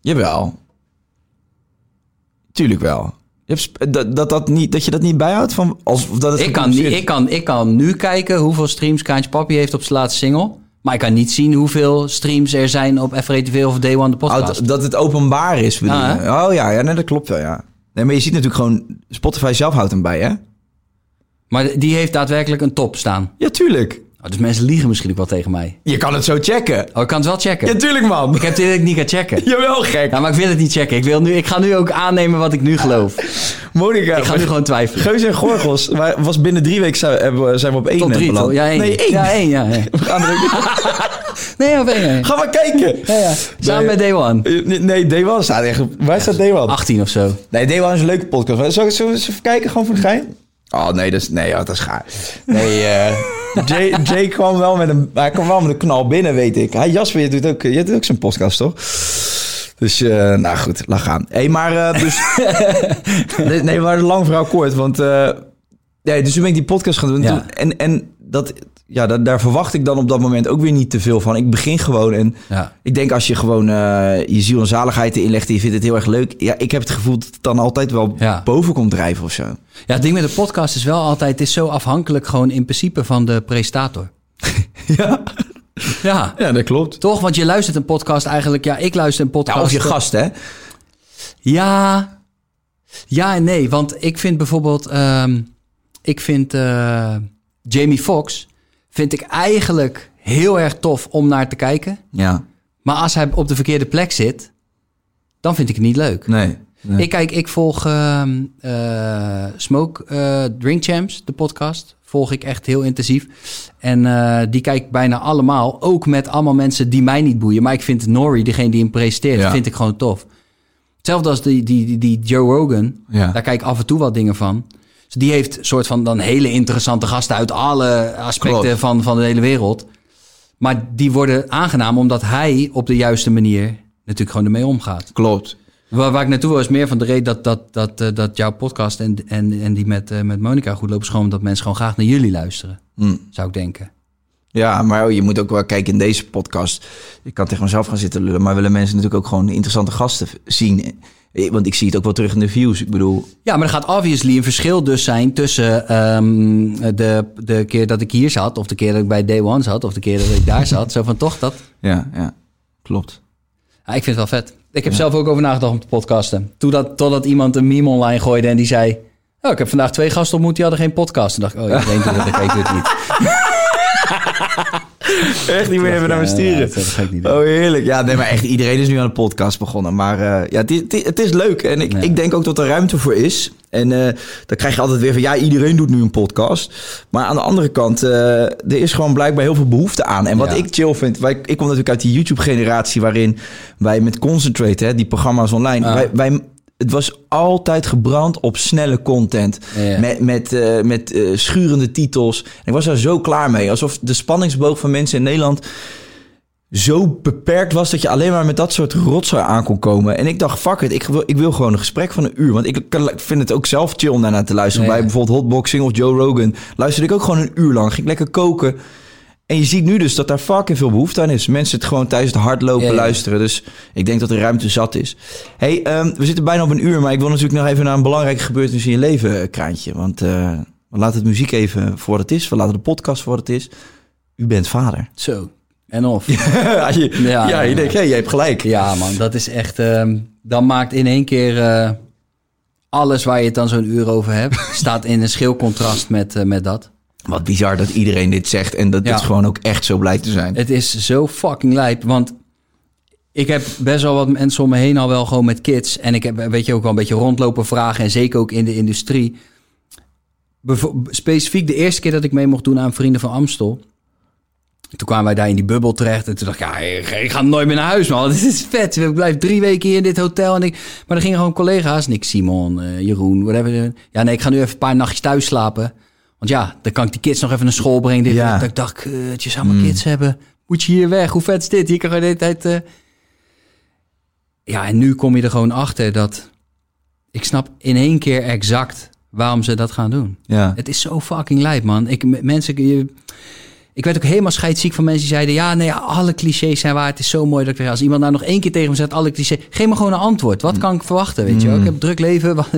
Speaker 4: Jawel. Tuurlijk wel. Je hebt sp- dat, dat, dat, niet, dat je dat niet bijhoudt? Van, als, of dat het
Speaker 2: Ik kan, niet-
Speaker 4: gecompenseerd-
Speaker 2: ik, kan, ik kan nu kijken hoeveel streams Kaantje Papi heeft op zijn laatste single. Maar ik kan niet zien hoeveel streams er zijn op FRE TV of Day One de
Speaker 4: Oh,
Speaker 2: podcast. Ah,
Speaker 4: dat- dat het openbaar is, bedoel
Speaker 2: Ja,
Speaker 4: je? Oh ja, ja nee, dat klopt wel, ja. Nee, maar je ziet natuurlijk gewoon... Spotify zelf houdt hem bij, hè?
Speaker 2: Maar die heeft daadwerkelijk een top staan.
Speaker 4: Ja, tuurlijk.
Speaker 2: Oh, dus mensen liegen misschien ook wel tegen mij.
Speaker 4: Je kan het zo checken.
Speaker 2: Oh, ik kan het wel checken.
Speaker 4: Ja, tuurlijk, man.
Speaker 2: Ik heb dit niet gaan checken.
Speaker 4: Jawel, gek.
Speaker 2: Ja, maar ik wil het niet checken. Ik, wil nu, ik ga nu ook aannemen wat ik nu geloof.
Speaker 4: Ah, Monica.
Speaker 2: Ik ga nu gewoon twijfelen.
Speaker 4: Geus en Gorgels. Maar was binnen drie weken zijn we- hebben we, zijn we op één
Speaker 2: Top drie,
Speaker 4: beland.
Speaker 2: toch? Ja, één.
Speaker 4: Nee, één.
Speaker 2: Ja, één, ja. ja. nee, op één. ja, ja.
Speaker 4: Ga maar kijken.
Speaker 2: Ja, ja. Samen met Ah, Day One.
Speaker 4: Eh, Nee, Day One staat echt... Waar staat Day One?
Speaker 2: 18 of zo.
Speaker 4: Nee, Day One is een leuke podcast. Zal ik- Zullen we eens even kijken, gewoon voor de gein? Oh nee, dat is, nee ja, dat is gaar. Nee, eh Jay, Jay kwam, wel met een, hij kwam wel met een knal binnen, weet ik. Hij, Jasper, je doet ook, je doet ook zijn podcast, toch? Dus, eh, nou goed, laat gaan. Hé, hey, maar eh, dus... nee, nee, maar lang verhaal kort, want... eh, nee, dus toen ben ik die podcast gaan doen.
Speaker 2: Ja.
Speaker 4: Toen- en en dat, ja, daar, daar verwacht ik dan op dat moment ook weer niet te veel van. Ik begin gewoon en...
Speaker 2: Ja.
Speaker 4: Ik denk als je gewoon eh, je ziel en zaligheid erin legt en je vindt het heel erg leuk. Ja, ik heb het gevoel dat het dan altijd wel
Speaker 2: Ja.
Speaker 4: boven komt drijven of zo.
Speaker 2: ja, het ding met de podcast is wel altijd... Het is zo afhankelijk gewoon in principe van de presentator.
Speaker 4: Ja,
Speaker 2: Ja,
Speaker 4: ja dat klopt.
Speaker 2: toch? Want je luistert een podcast eigenlijk... Ja, ik luister een podcast...
Speaker 4: Ja, of je gast, hè?
Speaker 2: Ja. Ja en nee. Want ik vind bijvoorbeeld... ehm, ik vind eh, Jamie Foxx... vind ik eigenlijk heel erg tof om naar te kijken.
Speaker 4: Ja.
Speaker 2: Maar als hij op de verkeerde plek zit... dan vind ik het niet leuk.
Speaker 4: Nee.
Speaker 2: Ik kijk, ik volg ehm, eh, Smoke eh, Drink Champs, de podcast. Volg ik echt heel intensief. En eh, die kijk ik bijna allemaal. Ook met allemaal mensen die mij niet boeien. Maar ik vind Nori, degene die hem presenteert,
Speaker 4: Ja.
Speaker 2: vind ik gewoon tof. Hetzelfde als die, die, die, die Joe Rogan.
Speaker 4: Ja.
Speaker 2: Daar kijk ik af en toe wat dingen van. Dus die heeft soort van dan hele interessante gasten uit alle aspecten
Speaker 4: Klopt.
Speaker 2: van, van de hele wereld. Maar die worden aangenaam omdat hij op de juiste manier natuurlijk gewoon ermee omgaat.
Speaker 4: Klopt.
Speaker 2: Waar, waar ik naartoe wil is meer van de reden dat, dat, dat, eh, dat jouw podcast en, en, en die met, eh, met Monica goed lopen. is gewoon omdat mensen gewoon graag naar jullie luisteren. Zou ik denken.
Speaker 4: Ja, maar oh, je moet ook wel kijken in deze podcast. Ik kan tegen mezelf gaan zitten lullen, maar willen mensen natuurlijk ook gewoon interessante gasten v- zien. Eh, Want ik zie het ook wel terug in de views. Ik bedoel,
Speaker 2: Ja, maar er gaat obviously een verschil dus zijn tussen ehm, de, de keer dat ik hier zat. Of de keer dat ik bij Day One zat. Of de keer dat ik daar zat. Zo van toch dat.
Speaker 4: ja, ja. Klopt.
Speaker 2: Ja, ik vind het wel vet. Ik heb zelf ook over nagedacht om te podcasten. Toen dat, totdat iemand een meme online gooide en die zei... Oh, ik heb vandaag twee gasten ontmoet, die hadden geen podcast. Toen dacht ik, oh, iedereen doet het, ik weet het niet.
Speaker 4: Echt niet meer even naar me
Speaker 2: Ja,
Speaker 4: sturen.
Speaker 2: dat ga ik niet doen.
Speaker 4: Oh, heerlijk. Ja, nee, maar echt iedereen is nu aan de podcast begonnen. Maar eh, ja, het is, het is- het is leuk. En ik,
Speaker 2: Ja.
Speaker 4: ik denk ook dat er ruimte voor is. En eh, dan krijg je altijd weer van, ja, iedereen doet nu een podcast. Maar aan de andere kant, eh, er is gewoon blijkbaar heel veel behoefte aan. En wat
Speaker 2: Ja.
Speaker 4: ik chill vind, wij, ik kom natuurlijk uit die YouTube-generatie... waarin wij met Concentrate, hè, die programma's online...
Speaker 2: Ah.
Speaker 4: Wij, wij, het was altijd gebrand op snelle content.
Speaker 2: Ja, ja.
Speaker 4: Met, met, eh, met eh, schurende titels. En ik was daar zo klaar mee. Alsof de spanningsboog van mensen in Nederland zo beperkt was dat je alleen maar met dat soort rotzooi aan kon komen. En ik dacht, fuck it, ik wil, ik wil gewoon een gesprek van een uur. Want ik, kan- ik vind het ook zelf chill om daarna te luisteren.
Speaker 2: Ja, ja.
Speaker 4: Bij bijvoorbeeld Hotboxing of Joe Rogan luisterde ik ook gewoon een uur lang. Ging lekker koken. En je ziet nu dus dat daar fucking veel behoefte aan is. Mensen het gewoon tijdens het hardlopen
Speaker 2: Ja, ja.
Speaker 4: luisteren. Dus ik denk dat er ruimte zat is. hey, ehm, we zitten bijna op een uur. Maar ik wil natuurlijk nog even naar een belangrijke gebeurtenis in je leven, eh, Kraantje. Want eh, we laten het muziek even voor wat het is. We laten de podcast voor wat het is. U bent vader.
Speaker 2: Zo, en of.
Speaker 4: ja, je,
Speaker 2: Ja.
Speaker 4: ja, je denkt, hé, je hebt gelijk.
Speaker 2: Ja, man, dat is echt. ehm, dan maakt in één keer eh, alles waar je het dan zo'n uur over hebt, staat in een schil contrast met, eh, met dat.
Speaker 4: Wat bizar dat iedereen dit zegt en dat
Speaker 2: Ja.
Speaker 4: dit gewoon ook echt zo blijkt te zijn.
Speaker 2: Het is zo fucking lijp, want ik heb best wel wat mensen om me heen al wel gewoon met kids. En ik heb, eh, weet je, ook wel een beetje rondlopen vragen en zeker ook in de industrie. Bevo- specifiek de eerste keer dat ik mee mocht doen aan Vrienden van Amstel. Toen kwamen wij daar in die bubbel terecht. En toen dacht ik, ja, ik ik ga nooit meer naar huis, man. Dit is vet. Ik blijf drie weken hier in dit hotel. En ik, maar er gingen gewoon collega's. Nick, Simon, eh, Jeroen, whatever. Ja, nee, ik ga nu even een paar nachtjes thuis slapen. Want ja, dan kan ik die kids nog even naar school brengen. Dit,
Speaker 4: Ja.
Speaker 2: dat ik dacht, kut, je zou maar kids hebben. Moet je hier weg? Hoe vet is dit? Hier kan je de hele tijd... eh, Ja, en nu kom je er gewoon achter dat... Ik snap in één keer exact waarom ze dat gaan doen.
Speaker 4: Ja.
Speaker 2: Het is zo fucking lijp, man. Ik, m- mensen, je, ik werd ook helemaal scheidziek van mensen die zeiden... ja, nee, ja, alle clichés zijn waar. Het is zo mooi dat ik... weer- Als iemand nou nog één keer tegen me zegt, alle clichés... geef me gewoon een antwoord. Wat kan ik verwachten, weet je wel? Ik heb een druk leven. Wat-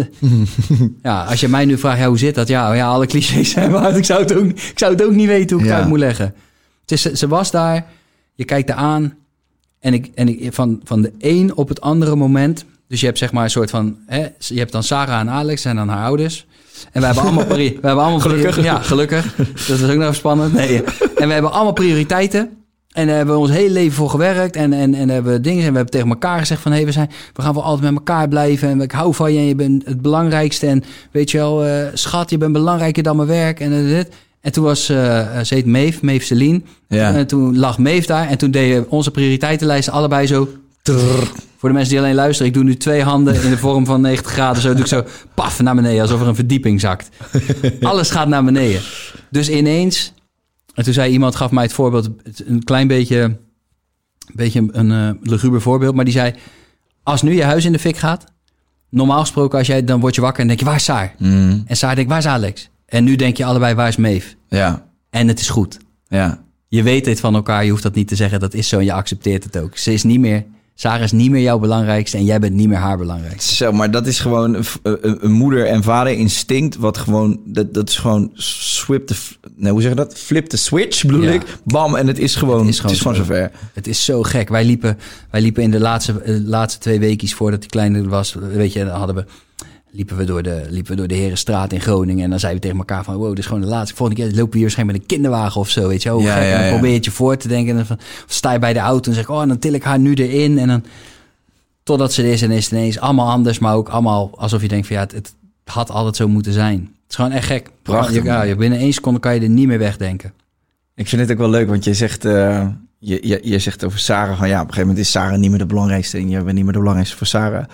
Speaker 2: ja, als je mij nu vraagt, ja, hoe zit dat? Ja, ja alle clichés zijn waar. Ik zou het ook, ik zou het ook niet weten hoe ik het
Speaker 4: Ja.
Speaker 2: uit moet leggen. Het is, ze, ze was daar, je kijkt haar aan. En, ik, en ik, van, van de een op het andere moment. Dus je hebt zeg maar een soort van. Hè, je hebt dan Sarah en Alex en dan haar ouders. En we hebben allemaal, pari- we hebben allemaal gelukkig. ja, gelukkig. Dat is ook nog spannend. Nee, ja. En we hebben allemaal prioriteiten. En daar hebben we ons hele leven voor gewerkt. En, en, en hebben we dingen. En we hebben tegen elkaar gezegd van hé, we, zijn, we gaan wel altijd met elkaar blijven. En ik hou van je. En je bent het belangrijkste. En weet je wel, eh, schat, je bent belangrijker dan mijn werk. En, dit, dit. en toen was eh eh, ze heet Meef, Meef Celine.
Speaker 4: Ja.
Speaker 2: En toen lag Meef daar. En toen deden we onze prioriteitenlijsten allebei zo. trrr. Voor de mensen die alleen luisteren, ik doe nu twee handen in de vorm van 90 graden. Zo doe ik zo paf naar beneden, alsof er een verdieping zakt. Alles gaat naar beneden. Dus ineens, en toen zei iemand, gaf mij het voorbeeld, het- een klein beetje, een beetje een, een eh, luguber voorbeeld. Maar die zei, als nu je huis in de fik gaat, normaal gesproken als jij, dan word je wakker en denk je, waar is Saar? En Saar denkt, waar is Alex? En nu denk je allebei, waar is Meef?
Speaker 4: Ja,
Speaker 2: En het is goed.
Speaker 4: ja.
Speaker 2: Je weet dit van elkaar, je hoeft dat niet te zeggen. Dat is zo en je accepteert het ook. Ze is niet meer, Sarah is niet meer jouw belangrijkste en jij bent niet meer haar belangrijkste.
Speaker 4: Zo, maar dat is gewoon een, v- eh, een- een moeder- en vaderinstinct wat gewoon... Dat, dat is gewoon swip de... f- Nee, hoe zeg je dat? Flip de switch, bedoel
Speaker 2: Ja.
Speaker 4: ik. Bam, en het is gewoon, het is gewoon,
Speaker 2: zo.
Speaker 4: zover.
Speaker 2: Het is zo gek. Wij liepen, wij liepen in de laatste, eh, laatste twee weekjes voordat die kleine er was, weet je, dan hadden we, liepen, we door de, liepen we door de Herenstraat in Groningen. En dan zeiden we tegen elkaar van, wow, dit is gewoon de laatste. Volgende keer lopen we hier waarschijnlijk met een kinderwagen of zo, weet je. wel. Hoe
Speaker 4: Ja,
Speaker 2: gek.
Speaker 4: ja,
Speaker 2: en dan
Speaker 4: ja.
Speaker 2: probeer je het je voor te denken. En dan van, of sta je bij de auto en zeg ik, oh, dan til ik haar nu erin. En dan, totdat ze er is en is het ineens allemaal anders. Maar ook allemaal alsof je denkt van, ja, het, het had altijd zo moeten zijn. Het is gewoon echt gek.
Speaker 4: Prachtig,
Speaker 2: Ja,
Speaker 4: man.
Speaker 2: ja, binnen één seconde kan je er niet meer wegdenken.
Speaker 4: Ik vind het ook wel leuk, want je zegt, eh, je, je, je zegt over Sarah van ja, op een gegeven moment is Sarah niet meer de belangrijkste en jij bent niet meer de belangrijkste voor Sarah.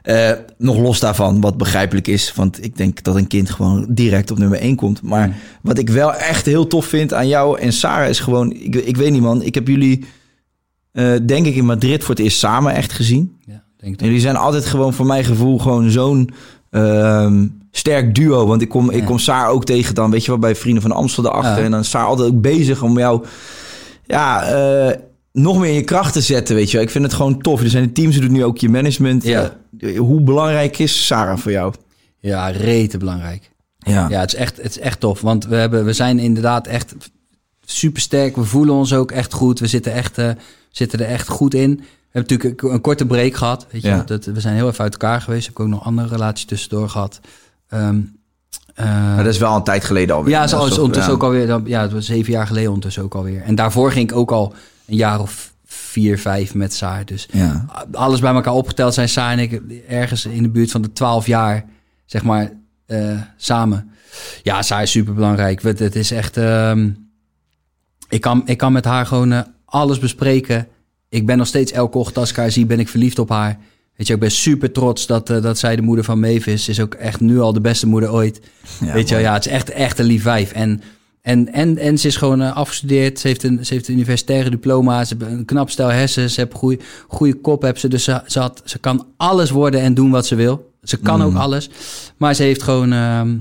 Speaker 4: Eh, nog los daarvan, wat begrijpelijk is, want ik denk dat een kind gewoon direct op nummer 1 komt. Maar wat ik wel echt heel tof vind aan jou en Sarah is gewoon, ik, ik weet niet man, ik heb jullie eh, denk ik in Madrid voor het eerst samen echt gezien.
Speaker 2: Ja, denk
Speaker 4: En
Speaker 2: ik.
Speaker 4: jullie zijn altijd gewoon, voor mijn gevoel, gewoon zo'n ehm, sterk duo. Want ik kom, ik
Speaker 2: Ja.
Speaker 4: kom Saar ook tegen dan, weet je wel, bij Vrienden van Amstel daarachter.
Speaker 2: Ja.
Speaker 4: En dan is Saar altijd ook bezig om jou, ja, eh, nog meer in je kracht te zetten, weet je wel. Ik vind het gewoon tof. Er zijn de teams, ze doet nu ook je management.
Speaker 2: Ja.
Speaker 4: Eh, hoe belangrijk is Sarah voor jou?
Speaker 2: Ja, rete belangrijk.
Speaker 4: Ja.
Speaker 2: Ja, het is echt, het is echt tof. Want we, hebben, we zijn inderdaad echt supersterk. We voelen ons ook echt goed. We zitten, echt, eh, zitten er echt goed in. We hebben natuurlijk een, een korte break gehad. Weet je?
Speaker 4: Ja.
Speaker 2: Dat, we zijn heel even uit elkaar geweest. Heb ik ook nog andere relaties tussendoor gehad. Ehm, eh,
Speaker 4: Maar dat is wel een tijd geleden alweer.
Speaker 2: ja, zo,
Speaker 4: Dat
Speaker 2: is
Speaker 4: toch-
Speaker 2: ondertussen
Speaker 4: ja.
Speaker 2: ook alweer. dan- Ja, het was zeven jaar geleden ondertussen ook alweer. En daarvoor ging ik ook al een jaar of vier, vijf met Saar. Dus
Speaker 4: Ja.
Speaker 2: alles bij elkaar opgeteld zijn Saar en ik ergens in de buurt van de 12 jaar, zeg maar, eh, samen. Ja, Saar is superbelangrijk. Het, het is echt... ehm, ik, kan, ik kan met haar gewoon eh, alles bespreken. Ik ben nog steeds elke ochtend als ik haar zie, ben ik verliefd op haar. Weet je, ik ben super trots dat, eh, dat zij de moeder van Maeve is. Ze is ook echt nu al de beste moeder ooit. Weet je wel, ja, het is echt, echt een lief wijf. En, en, en, en ze is gewoon eh, afgestudeerd. Ze heeft, een, ze heeft een universitaire diploma. Ze heeft een knap stel hersens. Ze heeft een goede, goede kop. Heb ze, dus ze, ze, had, ze kan alles worden en doen wat ze wil. Ze kan ook alles. Maar ze heeft gewoon... ehm,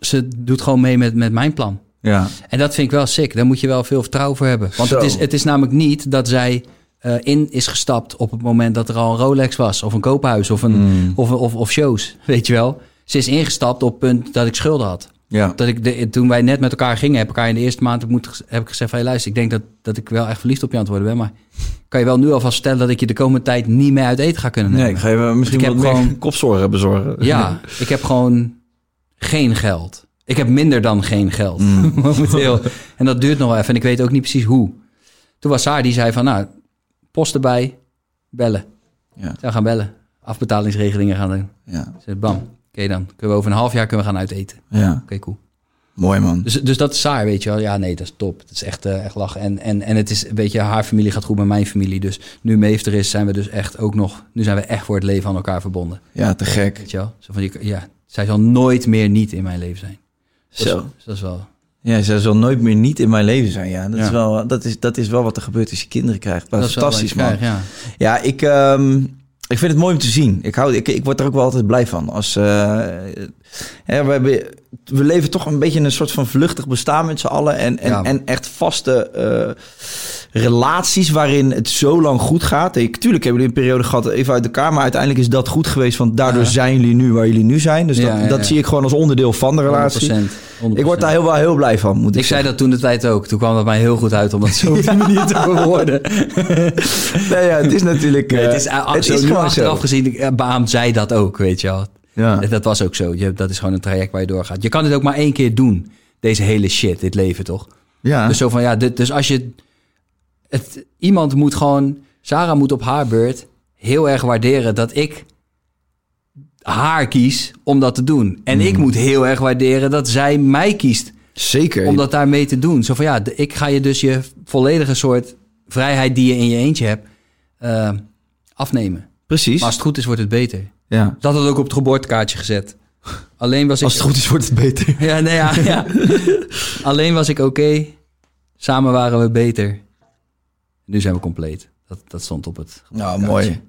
Speaker 2: ze doet gewoon mee met, met mijn plan.
Speaker 4: Ja.
Speaker 2: En dat vind ik wel sick. Daar moet je wel veel vertrouwen voor hebben. Want
Speaker 4: Zo.
Speaker 2: het is, het is namelijk niet dat zij eh, in is gestapt op het moment dat er al een Rolex was. Of een koophuis of, een,
Speaker 4: Hmm.
Speaker 2: of, of, of shows. Weet je wel. Ze is ingestapt op het punt dat ik schulden had.
Speaker 4: Ja.
Speaker 2: Dat ik de, toen wij net met elkaar gingen, heb ik haar in de eerste maand moet, heb ik gezegd van... Hey, luister, ik denk dat, dat ik wel echt verliefd op je aan het worden ben. Maar kan je wel nu alvast vertellen dat ik je de komende tijd niet meer uit eten ga kunnen nemen?
Speaker 4: Nee, ik ga even misschien
Speaker 2: Ik
Speaker 4: wat
Speaker 2: heb
Speaker 4: meer
Speaker 2: gewoon-
Speaker 4: kopzorgen bezorgen.
Speaker 2: Ja, ik heb gewoon geen geld. Ik heb minder dan geen geld
Speaker 4: Mm.
Speaker 2: momenteel. En dat duurt nog wel even. En ik weet ook niet precies hoe. Toen was haar die zei van, nou, post erbij, bellen.
Speaker 4: Ja.
Speaker 2: Zou gaan bellen. Afbetalingsregelingen gaan doen.
Speaker 4: Ja.
Speaker 2: Ik zei, bam, oké dan. Kunnen we over een half jaar kunnen we gaan uiteten. Oké,
Speaker 4: ja.
Speaker 2: cool.
Speaker 4: Mooi man.
Speaker 2: Dus, dus dat is saai, weet je wel. Ja, nee, dat is top. Het is echt, eh, echt lachen. En, en, en het is, weet je, haar familie gaat goed met mijn familie. Dus nu Meef er is, zijn we dus echt ook nog... Nu zijn we echt voor het leven aan elkaar verbonden.
Speaker 4: Ja, te gek.
Speaker 2: Weet je wel? Zo van, je- ja, zij zal nooit meer niet in mijn leven zijn. Dat is-
Speaker 4: Zo.
Speaker 2: Dus dat is wel...
Speaker 4: Ja, zij zal nooit meer niet in mijn leven zijn. Ja, dat,
Speaker 2: Ja.
Speaker 4: Is, wel, dat, is, dat is wel wat er gebeurt als je kinderen krijgt. Dat,
Speaker 2: dat
Speaker 4: is
Speaker 2: wel wat
Speaker 4: fantastisch,
Speaker 2: ik
Speaker 4: man.
Speaker 2: krijg, ja.
Speaker 4: Ja, ik, ehm, ik vind het mooi om te zien. Ik, hou, ik, ik word er ook wel altijd blij van. Als, eh, hè, we hebben we leven toch een beetje in een soort van vluchtig bestaan met z'n allen. En, en,
Speaker 2: Ja.
Speaker 4: en echt vaste eh, relaties waarin het zo lang goed gaat. Ik, tuurlijk hebben jullie een periode gehad even uit elkaar. Maar uiteindelijk is dat goed geweest. Want daardoor
Speaker 2: Ja.
Speaker 4: zijn jullie nu waar jullie nu zijn. Dus
Speaker 2: Ja,
Speaker 4: dat,
Speaker 2: ja, ja.
Speaker 4: dat zie ik gewoon als onderdeel van de relatie.
Speaker 2: 100%, 100%.
Speaker 4: Ik word daar heel, wel heel blij van, moet ik,
Speaker 2: Ik zei dat toen de tijd ook. Toen kwam dat mij heel goed uit om dat zo op die manier te verwoorden.
Speaker 4: zeggen. Nee, ja, het is natuurlijk...
Speaker 2: Nee,
Speaker 4: eh,
Speaker 2: het is, uh,
Speaker 4: het
Speaker 2: zo,
Speaker 4: is
Speaker 2: nu
Speaker 4: gewoon
Speaker 2: achteraf
Speaker 4: zo.
Speaker 2: gezien, eh, beaamt zij dat ook, weet je wel.
Speaker 4: Ja.
Speaker 2: Dat was ook zo. Je, dat is gewoon een traject waar je doorgaat. Je kan dit ook maar één keer doen. Deze hele shit, dit leven toch?
Speaker 4: Ja.
Speaker 2: Dus zo van, ja, dit, dus als je... Het, iemand moet gewoon... Sarah moet op haar beurt heel erg waarderen dat ik haar kies om dat te doen. En
Speaker 4: Hmm.
Speaker 2: ik moet heel erg waarderen dat zij mij kiest
Speaker 4: Zeker.
Speaker 2: om dat daarmee te doen. Zo van, ja, de- ik ga je dus je volledige soort vrijheid die je in je eentje hebt eh, afnemen.
Speaker 4: Precies.
Speaker 2: Maar als het goed is, wordt het beter.
Speaker 4: ja.
Speaker 2: Dat had ook op het geboortekaartje gezet. Alleen was ik...
Speaker 4: Als het goed is, wordt het beter.
Speaker 2: Ja, nee, ja, ja. Alleen was ik oké. Samen waren we beter. Nu zijn we compleet. Dat, dat stond op het.
Speaker 4: Nou, mooi.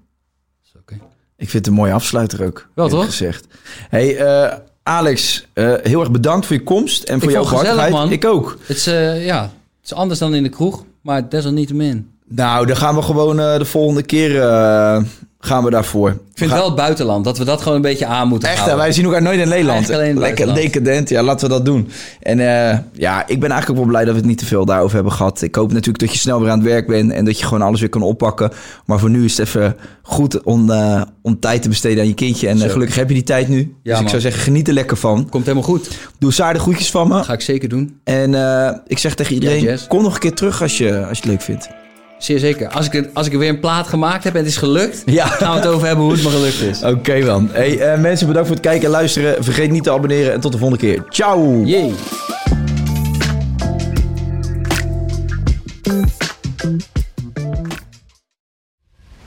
Speaker 2: Is oké.
Speaker 4: Ik vind het een mooie afsluiter ook.
Speaker 2: Wel,
Speaker 4: eerlijk
Speaker 2: toch?
Speaker 4: Gezegd. Hey, eh, Alex, eh, heel erg bedankt voor je komst en voor
Speaker 2: Ik
Speaker 4: jouw
Speaker 2: vond het gezellig,
Speaker 4: behartigheid.
Speaker 2: man.
Speaker 4: Ik ook.
Speaker 2: Het, is, eh, ja, het is anders dan in de kroeg, maar desalniettemin.
Speaker 4: Nou, dan gaan we gewoon eh, de volgende keer eh, gaan we daarvoor.
Speaker 2: Ik vind wel het buitenland, dat we dat gewoon een beetje aan moeten
Speaker 4: Echt, hè,
Speaker 2: houden.
Speaker 4: wij zien elkaar nooit in Nederland.
Speaker 2: Eigenlijk alleen in het
Speaker 4: Lekker
Speaker 2: buitenland.
Speaker 4: decadent, ja, laten we dat doen. En eh, ja, ik ben eigenlijk ook wel blij dat we het niet te veel daarover hebben gehad. Ik hoop natuurlijk dat je snel weer aan het werk bent en dat je gewoon alles weer kan oppakken. Maar voor nu is het even goed om, eh, om tijd te besteden aan je kindje. En eh,
Speaker 2: Zo.
Speaker 4: gelukkig heb je die tijd nu. dus ik
Speaker 2: man.
Speaker 4: zou zeggen, geniet er lekker van.
Speaker 2: Komt helemaal goed.
Speaker 4: Doe Saar de groetjes van me.
Speaker 2: Dat ga ik zeker doen.
Speaker 4: En eh, ik zeg tegen iedereen,
Speaker 2: Ja, Jess.
Speaker 4: kom nog een keer terug als je, als je het leuk vindt.
Speaker 2: Zeer zeker. Als ik, het- als ik er weer een plaat gemaakt heb en het is gelukt,
Speaker 4: Ja.
Speaker 2: gaan we het over hebben hoe het me gelukt is.
Speaker 4: Oké dan. Hey, eh, mensen, bedankt voor het kijken en luisteren. Vergeet niet te abonneren en tot de volgende keer. Ciao!
Speaker 2: Jee.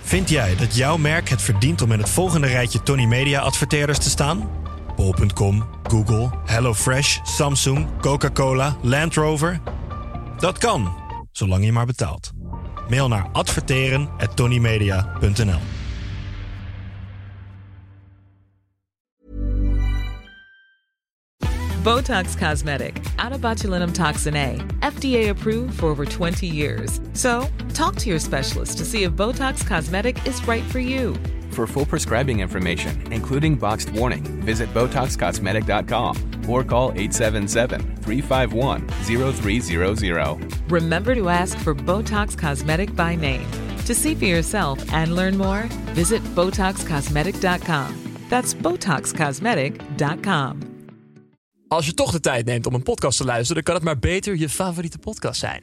Speaker 3: Vind jij dat jouw merk het verdient om in het volgende rijtje Tony Media adverteerders te staan? Bol.com, Google, HelloFresh, Samsung, Coca-Cola, Land Rover? Dat kan, zolang je maar betaalt. Mail naar adverteren@tonymedia.nl.
Speaker 5: Botox Cosmetic, out of botulinum toxin A, FDA approved for over 20 years. So, talk to your specialist to see if Botox Cosmetic is right for you.
Speaker 6: For full prescribing information, including boxed warning, visit BotoxCosmetic.com or call 877-351-0300.
Speaker 5: Remember to ask for Botox Cosmetic by name. To see for yourself and learn more, visit BotoxCosmetic.com. That's BotoxCosmetic.com.
Speaker 7: Als je toch de tijd neemt om een podcast te luisteren, dan kan het maar beter je favoriete podcast zijn.